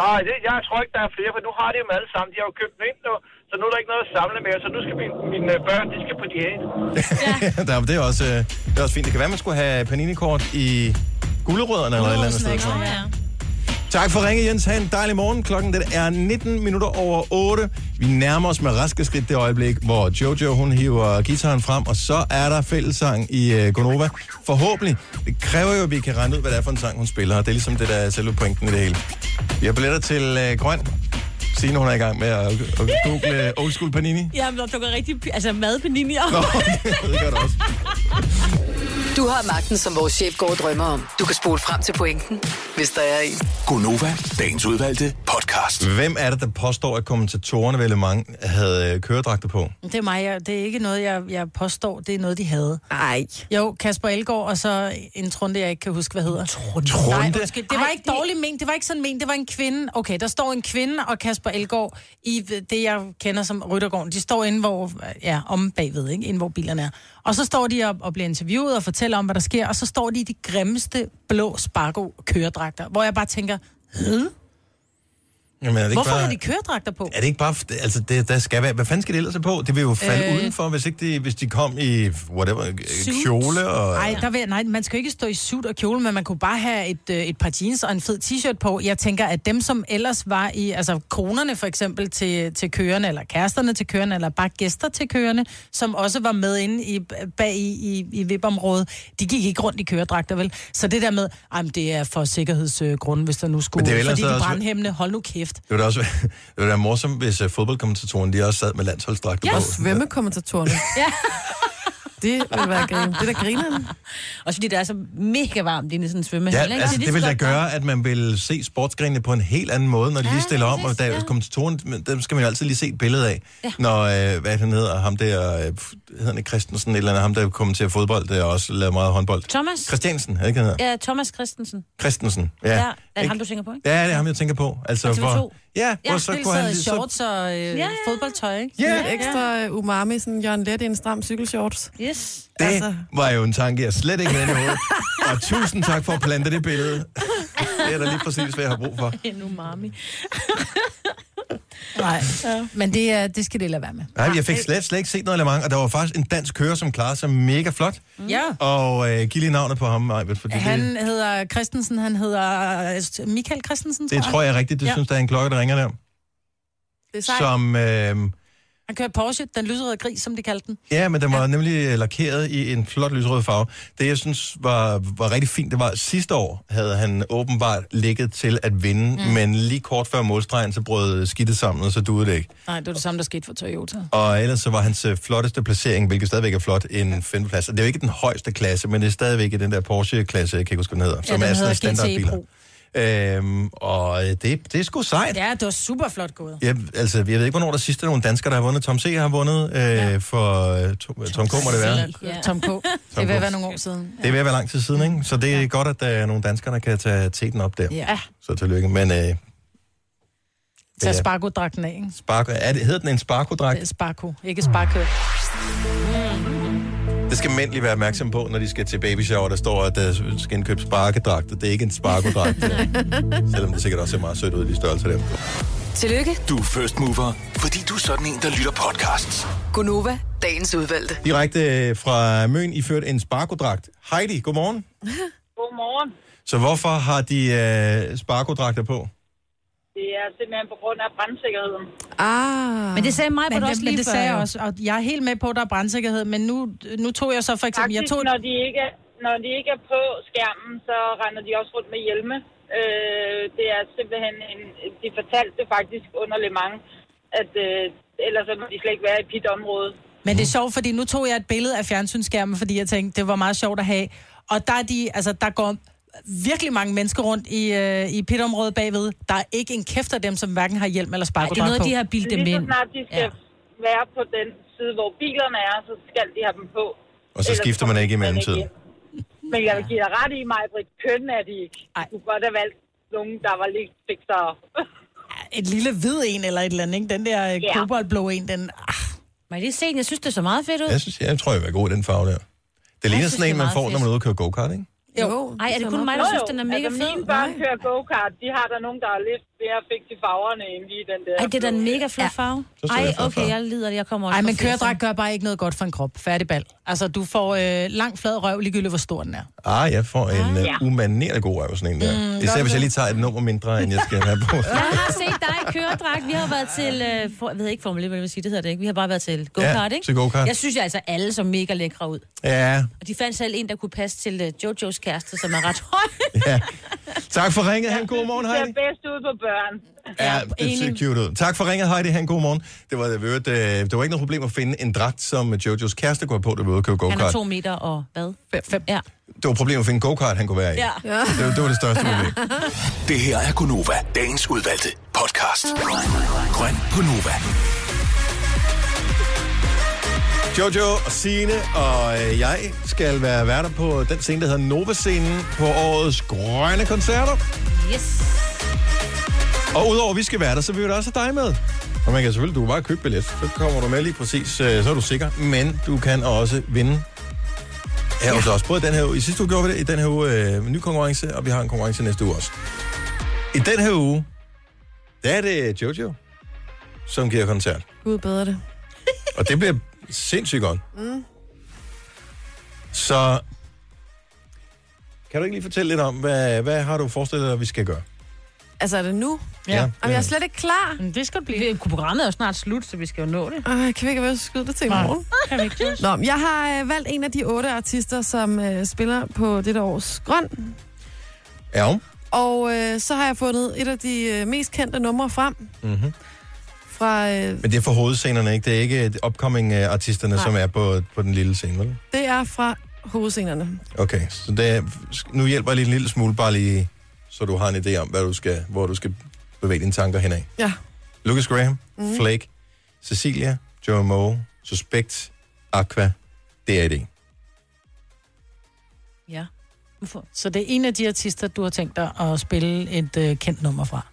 Speaker 14: Nej, det, jeg tror ikke, der er flere, for nu har de dem alle sammen. De har jo købt dem ind nu, så nu er der ikke noget at samle med, så nu skal mine, mine øh, børn, de skal på diæt.
Speaker 1: Ja. <laughs> Der, det, er også, øh, det er også fint. Det kan være, man skulle have paninekort i gulerødderne eller et eller andet sted. tror jeg. Tak for ringe, Jens. Ha' en dejlig morgen. Klokken den er 19 minutter over 8. Vi nærmer os med raske skridt det øjeblik, hvor Jojo hun hiver gitaren frem, og så er der fællessang i øh, Gonova. Forhåbentlig. Det kræver jo, at vi kan regne ud, hvad det er for en sang, hun spiller, og det er ligesom det, der er selve pointen i det hele. Vi har billetter til øh, Grøn. Signe, hun er i gang med at, at google øh, old school panini.
Speaker 2: Jamen, der dukker rigtig p- altså, mad på Nini op.
Speaker 1: <laughs> Det gør det også.
Speaker 6: Du har magten, som vores chef går og drømmer om. Du kan spole frem til pointen, hvis der er
Speaker 1: <laughs>
Speaker 6: en.
Speaker 1: Gonova, dagens udvalgte podcast. Hvem er det, der påstår, at kommentatorerne ved Le Mans havde øh, køredragter på?
Speaker 4: Det er mig. Jeg, det er ikke noget, jeg, jeg påstår. Det er noget, de havde.
Speaker 5: Nej.
Speaker 4: Jo, Kasper Elgård og så en trunde, jeg ikke kan huske, hvad hedder. Trunde? Nej,
Speaker 3: Trunde?
Speaker 4: undskyld. Det var ikke dårligt ment. Det var ikke sådan ment. Det var en kvinde. Okay, der står en kvinde og Kasper Elgård i det, jeg kender som Ryttergården. De står inde, hvor, ja, om bagved, ikke? Inde, hvor bilerne er. Og så står de op og bliver interviewet og fortæller om, hvad der sker. Og så står de i de grimmeste blå spargo køredragter, hvor jeg bare tænker, hed?
Speaker 1: Jamen, er det ikke
Speaker 4: Hvorfor
Speaker 1: bare-
Speaker 4: har de køredragter på?
Speaker 1: Er det ikke bare... Altså, det, der skal være... Hvad fanden skal det ellers have på? Det vil jo falde øh...
Speaker 4: Øh.
Speaker 1: udenfor, hvis, ikke de, hvis de kom i whatever, Suits. kjole og...
Speaker 4: Ej, der vil, jeg- nej, man skal jo ikke stå i suit og kjole, men man kunne bare have et, øh, et par jeans og en fed t-shirt på. Jeg tænker, at dem, som ellers var i, altså kronerne for eksempel til, til kørende, eller kæresterne til kørende, eller bare gæster til kørende, som også var med inde i, bag i, i, i VIP-området, de gik ikke rundt i køredragter, vel? Så det der med, ej, men det er for sikkerhedsgrunde, hvis der nu skulle,
Speaker 1: Men det er jo
Speaker 4: det
Speaker 1: ellers
Speaker 4: fordi de er
Speaker 1: også-
Speaker 4: brandhæmmende, hold nu kæft.
Speaker 1: Det ville da også være- <laughs> det ville være morsomt, hvis uh, fodboldkommentatorerne de også sad med landsholdsdragter
Speaker 5: Ja.
Speaker 1: på.
Speaker 5: Og svømmekommentatorerne.
Speaker 2: Ja.
Speaker 5: Det vil være grin. Det er da grineren.
Speaker 2: <laughs> Også fordi det er så mega varmt inde i sådan en svømmehal.
Speaker 1: Ja,
Speaker 2: ikke? ligesom
Speaker 1: altså,
Speaker 2: Så
Speaker 1: det vil da
Speaker 2: skal-
Speaker 1: gøre, at man vil se sportsgrenene på en helt anden måde, når de lige stiller om, og der ja. kommentatoren, men dem skal man jo altid lige se et billede af. Ja. Når, øh, hvad han hedder, ham der, øh, hedder han ikke Christensen, et eller andet, ham der kommenterer fodbold, der også lavet meget håndbold.
Speaker 2: Thomas?
Speaker 1: Christiansen, er det ikke han hedder?
Speaker 2: Ja, Thomas Christensen.
Speaker 1: Christensen, ja.
Speaker 2: Ja, er det
Speaker 1: Ikke?
Speaker 2: ham, du tænker på, ikke?
Speaker 1: Ja, det er ham, jeg tænker på. Altså,
Speaker 2: Fra TV2.
Speaker 1: hvor, ja,
Speaker 2: Ja,
Speaker 1: hvor så
Speaker 2: helt
Speaker 1: kunne han
Speaker 2: sad i
Speaker 1: lige, så,
Speaker 4: Shorts og øh, ja,
Speaker 2: ja.
Speaker 4: ja. fodboldtøj, ikke?
Speaker 5: Ja. Lidt ekstra øh, umami, sådan Jørgen Let i en stram cykelshorts. Altså,
Speaker 2: Yes.
Speaker 1: det
Speaker 4: Altså.
Speaker 1: var jo en tanke, jeg slet ikke havde i hovedet. Og tusind tak for at plante det billede. Det er da lige præcis, hvad jeg har brug
Speaker 4: <laughs>
Speaker 1: for.
Speaker 2: En umami.
Speaker 4: Nej, men det, er, det skal det lade være med.
Speaker 1: Nej, jeg fik slet, slet ikke set noget element, og der var faktisk en dansk kører, som klarede sig mega flot.
Speaker 4: Ja.
Speaker 1: Og øh, giv lige navnet på ham, Majbet, fordi
Speaker 4: Han
Speaker 1: det,
Speaker 4: hedder Christensen, han hedder øh, Michael Christensen,
Speaker 1: det tror jeg er rigtigt. Det ja. synes, der er en klokke, der ringer der.
Speaker 4: Det er sejt.
Speaker 1: Som, øh,
Speaker 4: Han kører Porsche, den lyserøde gris, som de kaldte den.
Speaker 1: ja, men den var ja. nemlig øh, lakeret i en flot lysrød farve. Det, jeg synes var, var rigtig fint, det var, at sidste år havde han åbenbart ligget til at vinde, mm. men lige kort før målstregen, så brød skidtet sammen, og så duede det ikke.
Speaker 4: Nej, det var det samme, der skete for Toyota.
Speaker 1: Og ellers så var hans øh, flotteste placering, hvilket stadigvæk er flot, en femteplads. Og det er jo ikke den højeste klasse, men det er stadigvæk i den der Porsche-klasse, jeg kan ikke huske, hvad den hedder, E
Speaker 4: den hedder E
Speaker 1: Øhm, og øh, det, det er sgu sejt.
Speaker 4: Ja, det var super flot gået.
Speaker 1: Jeg, altså, jeg ved ikke, hvornår der sidst er nogle danskere, der har vundet. Tom C. har vundet øh, ja. for øh, Tom, Tom K. må det være.
Speaker 4: Ja. øh, <laughs> Tom K. Det vil være nogle år siden.
Speaker 1: Det er ved at være lang tid siden, ikke? Så det er ja. godt, at der er nogle danskere, der kan tage teten op der.
Speaker 4: Ja.
Speaker 1: Så tillykke. Men øh,
Speaker 4: Tag
Speaker 1: Ja.
Speaker 4: Sparko-dragten af, ikke?
Speaker 1: Sparko, er det, hedder den en Sparko-dragt?
Speaker 4: Det er Sparko, ikke Sparko.
Speaker 1: Det skal mænd lige være opmærksom på, når de skal til babyshower. Der står, at der skal indkøbe sparkedragt, og det er ikke en sparkodragt. <laughs> selvom det sikkert også ser meget sødt ud i de størrelser der.
Speaker 6: Tillykke,
Speaker 7: Du er first mover, fordi du er sådan en, der lytter podcasts.
Speaker 6: Gunova, dagens
Speaker 1: <laughs>
Speaker 6: udvalgte.
Speaker 1: Direkte øh, fra Møn iført en sparkodragt. Heidi, godmorgen.
Speaker 15: <laughs> Godmorgen.
Speaker 1: Så hvorfor har de øh, sparkodragter på?
Speaker 15: Det er simpelthen på grund af brandsikkerheden.
Speaker 5: Ah.
Speaker 4: Men det sagde mig,
Speaker 15: Men
Speaker 4: men,
Speaker 15: det-
Speaker 4: også
Speaker 15: men
Speaker 4: lige det sagde jeg også, og jeg er helt med på, at der er brandsikkerhed, men nu, nu tog jeg så for eksempel...
Speaker 15: Faktisk,
Speaker 4: jeg tog...
Speaker 15: når, de ikke er, når de ikke er på skærmen, så render de også rundt med hjelme. Øh, det er simpelthen en... De fortalte det faktisk under Le Mans, at øh, ellers så må de slet ikke være i pitområdet.
Speaker 4: Men det er sjovt, fordi nu tog jeg et billede af fjernsynsskærmen, fordi jeg tænkte, det var meget sjovt at have. Og der, er de, altså, der går virkelig mange mennesker rundt i, øh, i pitområdet bagved. Der er ikke en kæft af dem, som hverken har hjelm eller sparkodragt på.
Speaker 15: Lige så snart de skal ja. være på den side, hvor bilerne er, så skal de have dem på.
Speaker 1: Og så skifter man ikke i mellemtiden.
Speaker 15: Men jeg vil give dig ret i, mig, Britt. Køn er de ikke. Du kunne godt have valgt nogen, der var lidt fiksere.
Speaker 4: Et lille hvid en eller et eller andet, ikke? Den der ja. koboldblå en, den... Ah.
Speaker 2: Må jeg lige se den? Jeg synes, det så meget fedt ud.
Speaker 1: Jeg synes, jeg tror, jeg vil være god i den farve der. Det ligner
Speaker 2: synes, det
Speaker 1: sådan
Speaker 2: er
Speaker 1: en, man
Speaker 2: meget
Speaker 1: får, når
Speaker 2: fedt.
Speaker 1: man er ude og kører go-kart, ikke?
Speaker 2: Jo. Ej, er det kun mig, der
Speaker 15: Jo,
Speaker 2: synes,
Speaker 15: jo.
Speaker 2: den er mega
Speaker 15: altså,
Speaker 2: fed?
Speaker 15: mine børn kører go-kart. De har der nogen, der er lidt mere fikse i farverne, end lige den der.
Speaker 2: Ej, det er da en mega flot farve.
Speaker 15: Så tror jeg,
Speaker 2: Ej,
Speaker 15: det er flot
Speaker 2: okay,
Speaker 15: farve.
Speaker 2: jeg lider det. Jeg kommer også
Speaker 4: Ej,
Speaker 2: fra
Speaker 4: men køredragt
Speaker 2: firserne.
Speaker 4: gør bare ikke noget godt for en krop. Færdig bal. Altså, du får øh, lang, flad røv, ligegyldigt hvor stor den er.
Speaker 1: Ah, jeg får en
Speaker 4: Ja.
Speaker 1: uh, umanerende god røv, sådan en der.
Speaker 4: Mm,
Speaker 1: Især
Speaker 4: gør
Speaker 1: hvis
Speaker 4: du
Speaker 1: jeg
Speaker 4: det?
Speaker 1: lige tager et nummer mindre, end jeg skal have
Speaker 2: <laughs>
Speaker 1: på.
Speaker 2: Jeg har set dig i køredragt. Vi har været til, øh, for, jeg ved ikke formel, hvad jeg vil sige, det hedder det ikke. Vi har bare været til go-kart,
Speaker 1: Ja,
Speaker 2: ikke?
Speaker 1: til go-kart.
Speaker 2: Jeg synes jeg altså, alle så mega lækre ud.
Speaker 1: Ja,
Speaker 2: Og de fandt selv en, der kunne passe til øh, Jojos kæreste, som er ret høj.
Speaker 1: ja. Tak for ringet. Ha' en god morgen, Heidi.
Speaker 15: Det ser bedst ud på børn.
Speaker 1: Ja, det ser cute ud. Tak for ringet, Heidi. Han, god morgen. Det var, øh, det var ikke noget problem at finde en dragt, som Jojos kæreste kunne have på, da vi var ude og købe
Speaker 2: Han er
Speaker 1: go-kart.
Speaker 2: to meter og hvad?
Speaker 4: Fem.
Speaker 2: Ja.
Speaker 1: Det var et problem at finde en go-kart, han kunne være i.
Speaker 2: Ja. Ja.
Speaker 1: Det, var- det var det største problem.
Speaker 7: Det her er Gunova, dagens udvalgte podcast. Grøn på Nova.
Speaker 1: Jojo og Sine og øh, jeg skal være værter på den scene, der hedder Nova-scenen på årets grønne koncerter.
Speaker 2: Yes.
Speaker 1: Og udover at vi skal være der, så vil vi da også have dig med. Og man kan selvfølgelig, du kan bare købe billet, så kommer du med lige præcis, øh, så er du sikker. Men du kan også vinde her ja. hos os. Både den her uge, i sidste uge gjorde vi det, i den her uge øh, ny konkurrence, og vi har en konkurrence næste uge også. I den her uge, Der er det Jojo, som giver koncert.
Speaker 5: Gud bedre det.
Speaker 1: Og det bliver sindssygt godt.
Speaker 5: Mm.
Speaker 1: Så kan du ikke lige fortælle lidt om, hvad, hvad har du forestillet dig, vi skal gøre?
Speaker 5: Altså, er det nu?
Speaker 1: Ja. Ja.
Speaker 5: Jamen, jeg er slet ikke klar.
Speaker 2: Men det skal det blive. Programmet er jo snart slut, så vi skal jo nå det.
Speaker 5: Øh, kan vi ikke være skyde det til i
Speaker 2: Nej,
Speaker 5: morgen?
Speaker 2: <laughs> kan vi ikke.
Speaker 5: Nå, men jeg har øh, valgt en af de otte artister, som øh, spiller på dette års Grøn.
Speaker 1: Ja.
Speaker 5: Og øh, så har jeg fundet et af de øh, mest kendte numre frem
Speaker 1: Mm-hmm.
Speaker 5: fra... Øh,
Speaker 1: Men det er for hovedscenerne, ikke? Det er ikke øh, upcoming-artisterne,
Speaker 5: Nej.
Speaker 1: som er på, på den lille scene, vel?
Speaker 5: det er fra hovedscenerne.
Speaker 1: Okay, så det er, nu hjælper jeg lige en lille smule, bare lige, så du har en idé om, hvad du skal, hvor du skal bevæge dine tanker henad.
Speaker 5: Ja.
Speaker 1: Lucas Graham,
Speaker 5: Mhm.
Speaker 1: mm. Flake, Cecilia, Joe Moe, Suspect, Aqua, D.A.D.
Speaker 4: Ja. Hvorfor? Så det er en af de artister, du har tænkt dig at spille et øh, kendt nummer fra.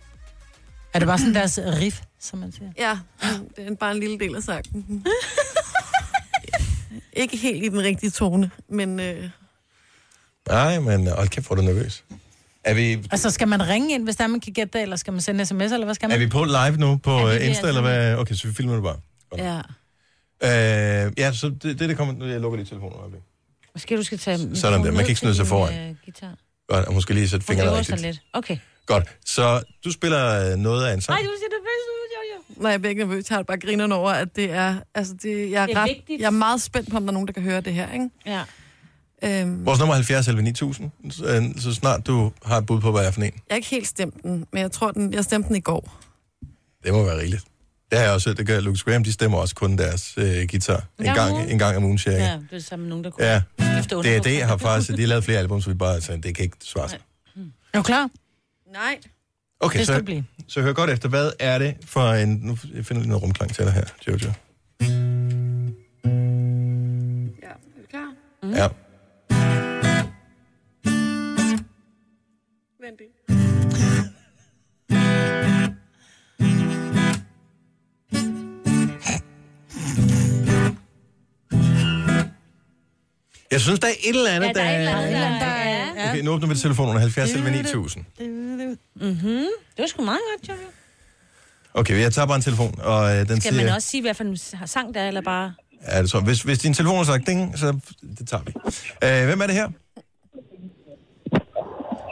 Speaker 4: Er det bare sådan deres riff, som man siger?
Speaker 5: Ja, det er bare en lille del af sangen. ikke helt i den rigtige tone, men... Øh,
Speaker 1: Nej, men hold kæft, hvor er du nervøs. Er vi,
Speaker 4: Altså, skal man ringe ind, hvis der man kan gætte det, eller skal man sende sms, eller hvad skal man?
Speaker 1: er vi på live nu
Speaker 4: Er
Speaker 1: på
Speaker 4: vi
Speaker 1: øh,
Speaker 4: det,
Speaker 1: Insta, eller hvad? Okay, så vi filmer det bare.
Speaker 2: Ja.
Speaker 1: Øh, ja, så det, det, det kommer... Nu, jeg lukker lige telefonen. et øjeblik.
Speaker 2: Måske du skal tage...
Speaker 1: Sådan der. Man
Speaker 2: ned
Speaker 1: kan ikke snyde sig
Speaker 2: til din,
Speaker 1: foran.
Speaker 2: øh, guitar.
Speaker 1: Godt, og måske lige sætte
Speaker 2: Hun
Speaker 1: fingrene
Speaker 2: øver sig
Speaker 1: rigtigt.
Speaker 2: lidt. Okay.
Speaker 1: Godt, så du spiller øh, noget af en sang.
Speaker 2: Nej, du ser nervøs ud, jo, jo.
Speaker 5: nej, jeg bliver ikke nervøs. Jeg har det bare grinerne over, at det er... Altså, det, jeg, er
Speaker 2: Det er
Speaker 5: ret,
Speaker 2: vigtigt.
Speaker 5: jeg er meget spændt på, om der er nogen, der kan høre det her, ikke?
Speaker 2: Ja.
Speaker 5: Øhm,
Speaker 1: Vores nummer er 70 11 9000, så, øh, så snart du har et bud på, hvad jeg er for en.
Speaker 5: jeg har ikke helt stemt den, men jeg tror, den, jeg stemte den i går.
Speaker 1: Det må være rigeligt. Det har jeg også hørt, det gør Lucas Graham, de stemmer også kun deres øh, guitar. En
Speaker 2: Ja,
Speaker 1: gang,
Speaker 2: hun-
Speaker 1: en gang om ugen, cirka.
Speaker 2: Ja,
Speaker 1: Ja.
Speaker 2: det er sammen med nogen, der kunne
Speaker 1: ja.
Speaker 2: skifte
Speaker 1: Det er
Speaker 2: underbukser.
Speaker 1: det, jeg har faktisk... De har lavet flere album, så vi bare sagde, det kan ikke svare sig.
Speaker 4: Er du klar?
Speaker 5: Nej.
Speaker 1: Okay,
Speaker 4: det skal det
Speaker 1: så,
Speaker 4: blive.
Speaker 1: så hør godt efter. Hvad er det for en... Nu jeg finder lige noget rumklang til dig her, Jojo.
Speaker 5: Er du klar?
Speaker 1: Mm. Ja.
Speaker 5: Vent
Speaker 1: Jeg synes, der er et eller andet,
Speaker 3: Ja, der er et eller andet, der-
Speaker 1: der... Okay, nu åbner vi telefonerne 70 11 9000.
Speaker 2: Mhm.
Speaker 5: Mm-hmm.
Speaker 2: Det var sgu meget godt, Jojo.
Speaker 1: Okay, jeg tager bare en telefon, og øh, den
Speaker 2: Skal
Speaker 1: siger...
Speaker 2: man også sige, hvad for en sang der er, eller bare...
Speaker 1: Ja, det tror jeg. Hvis, hvis din telefon har sagt ding, så det tager vi. Øh, hvem er det her?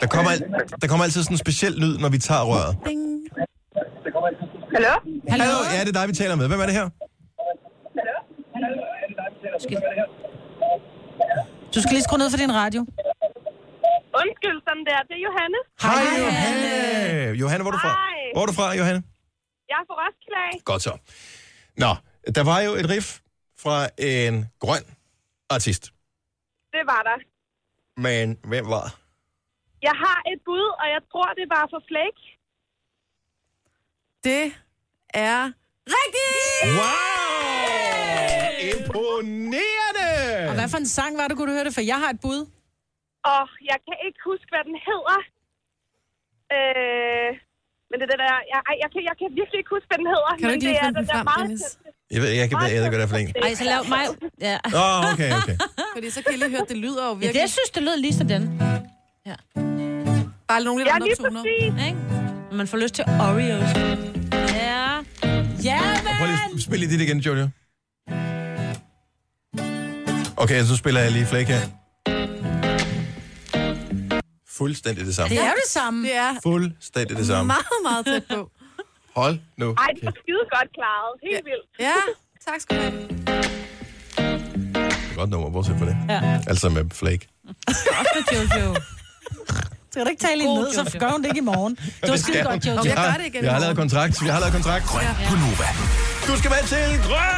Speaker 1: Der kommer, al- der kommer altid sådan en speciel lyd, når vi tager røret.
Speaker 3: Hallo?
Speaker 1: Hallo? Ja, det er dig, vi taler med. Hvem er det her?
Speaker 4: Du skal lige skrue ned for din radio.
Speaker 13: Undskyld, sådan der. Det er Johanne.
Speaker 1: Hej, Johanne! Øh, Johanne, hvor er du fra?
Speaker 13: Hej.
Speaker 1: Hvor er du fra, Johanne?
Speaker 13: Jeg er fra Roskilde. af.
Speaker 1: Godt så. Nå, der var jo et riff fra en grøn artist.
Speaker 13: Det var der.
Speaker 1: Men hvem var?
Speaker 13: Jeg har et bud, og jeg tror, det var for Flake.
Speaker 5: Det er rigtigt!
Speaker 1: Wow! Imponerende!
Speaker 4: Og hvad for en sang var det, kunne du høre det? For jeg har et bud.
Speaker 13: Og jeg kan ikke huske, hvad den hedder. Øh, men det er den der... Jeg, ej, jeg, kan, jeg kan virkelig ikke huske, hvad den hedder.
Speaker 5: Kan du
Speaker 13: men
Speaker 5: ikke
Speaker 13: det
Speaker 5: lige
Speaker 13: er
Speaker 5: finde den
Speaker 13: der
Speaker 5: frem, Dennis?
Speaker 13: kendte-
Speaker 1: Jeg ved, jeg kan blive æder, hvad det er for en.
Speaker 2: Ej, så lav mig... Ja.
Speaker 1: Åh, oh, okay, okay.
Speaker 5: <laughs> Fordi så kan jeg lige høre, det lyder
Speaker 2: ja
Speaker 5: jo virkelig...
Speaker 2: det, jeg synes, det lød lige sådan.
Speaker 5: Bare nogle lidt
Speaker 13: Ja,
Speaker 5: andre
Speaker 13: lige
Speaker 5: toner.
Speaker 13: præcis.
Speaker 2: Ikke? Når Man får lyst til Oreos. Ja. Ja,
Speaker 1: Og prøv lige at spille lige dit igen, Jojo. Okay, så spiller jeg lige flæk her. Fuldstændig det samme.
Speaker 4: Det er jo det samme.
Speaker 5: Det er
Speaker 1: Fuldstændig det samme.
Speaker 5: meget, meget tæt på.
Speaker 1: Hold nu.
Speaker 13: Ej, det var skide godt klaret. Helt vildt.
Speaker 5: Ja, tak skal du have.
Speaker 1: Godt nummer, bortset for det.
Speaker 2: Ja.
Speaker 1: Altså med flake.
Speaker 2: Også med Jojo.
Speaker 4: Skal du ikke tale hende
Speaker 2: God
Speaker 4: ned, så
Speaker 2: Jojo.
Speaker 4: gør hun det ikke i morgen. Det var skide godt, Jojo.
Speaker 1: Vi har- Vi har lavet kontrakt. Vi har lavet kontrakt. Grøn på Nova. Du skal med til Grøn!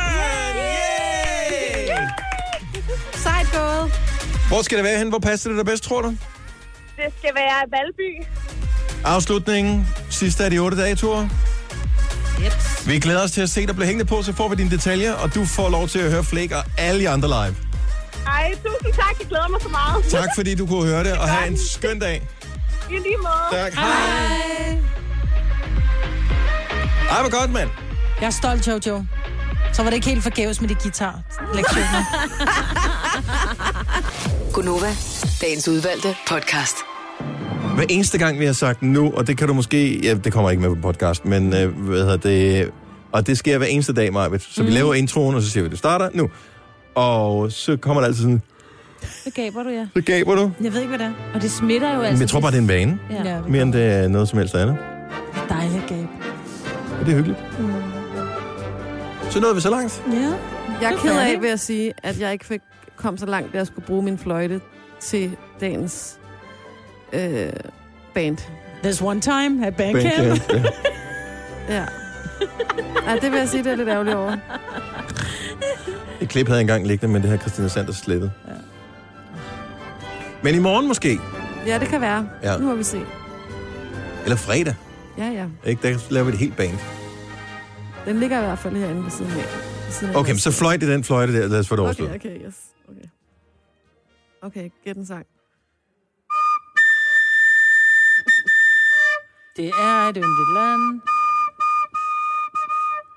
Speaker 1: Yay!
Speaker 5: Sejt gået.
Speaker 1: Hvor skal det være hen? Hvor passer det dig bedst, tror du?
Speaker 13: Det skal være Valby.
Speaker 1: Afslutningen. Sidste af de otte dage, Tor.
Speaker 2: Yep.
Speaker 1: Vi glæder os til at se dig blive hængende på, så får vi dine detaljer, og du får lov til at høre Flake og alle de andre live.
Speaker 13: Ej, tusind tak. Jeg glæder mig så meget.
Speaker 1: Tak fordi du kunne høre det, og have en skøn dag.
Speaker 13: I lige måde.
Speaker 1: Tak. Hej. Ej, hvor godt, mand.
Speaker 4: Jeg er stolt, Jojo. Så var det ikke helt forgæves med de guitar-lektioner.
Speaker 6: Gunova, dagens udvalgte podcast.
Speaker 1: Hver eneste gang, vi har sagt nu, og det kan du måske... Ja, det kommer ikke med på podcast, men øh, hvad hedder det... Og det sker hver eneste dag, Marvitt. Så mm. vi laver introen, og så siger vi, at det starter nu. Og så kommer der altid sådan,
Speaker 2: Så gaber du, ja.
Speaker 1: så gaber du.
Speaker 2: Jeg ved ikke, hvad det er. Og det smitter jo altså.
Speaker 1: Men jeg tror bare, det er en vane.
Speaker 2: Ja. Ja, det
Speaker 1: Mere end det er noget som helst andet.
Speaker 2: Dejligt gab.
Speaker 1: Og det er hyggeligt. Så nåede vi så langt.
Speaker 5: Ja. Jeg er
Speaker 2: er
Speaker 5: ked af
Speaker 2: færdig.
Speaker 5: ved at sige, at jeg ikke fik kom så langt, at jeg skulle bruge min fløjte til dagens øh, band.
Speaker 4: There's one time at
Speaker 1: Bandcamp,
Speaker 4: Bandcamp.
Speaker 1: ja.
Speaker 5: Ja. Ej, det vil jeg sige, det er lidt ærgerligt over.
Speaker 1: Et klip havde jeg engang liggende, men det har Christina Sanders slettet. Ja. Men i morgen måske,
Speaker 5: Ja, det kan være.
Speaker 1: Ja.
Speaker 5: Ja. Nu må vi se.
Speaker 1: eller fredag,
Speaker 5: Ja, ja.
Speaker 1: ikke? der laver vi et helt band.
Speaker 5: Den ligger i hvert fald herinde ved siden af. Ved siden af
Speaker 1: Okay, men så fløjte den fløjte der, lad os få det overstået.
Speaker 5: Okay, okay, yes. Okay, okay gæt en sang.
Speaker 4: Det er et yndigt land.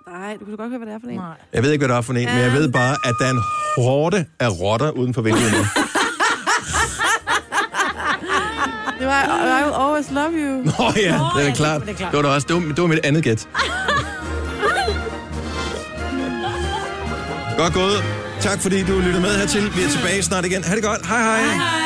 Speaker 5: Nej, du kan godt høre, hvad det er for en. Nej.
Speaker 1: Jeg ved ikke, hvad der er for en, men jeg ved bare, at der er en horde af rotter uden for vinduet <laughs> nu.
Speaker 5: <laughs> Det var I Will Always Love You.
Speaker 1: Nå ja, det er da klart.
Speaker 5: det er klart.
Speaker 1: Det var, da også, det var, det var mit andet <laughs> gæt. Godt gået. Tak fordi du lyttede med hertil. Vi er tilbage snart igen. Ha' det godt. <laughs> Hej hej. hej, hej.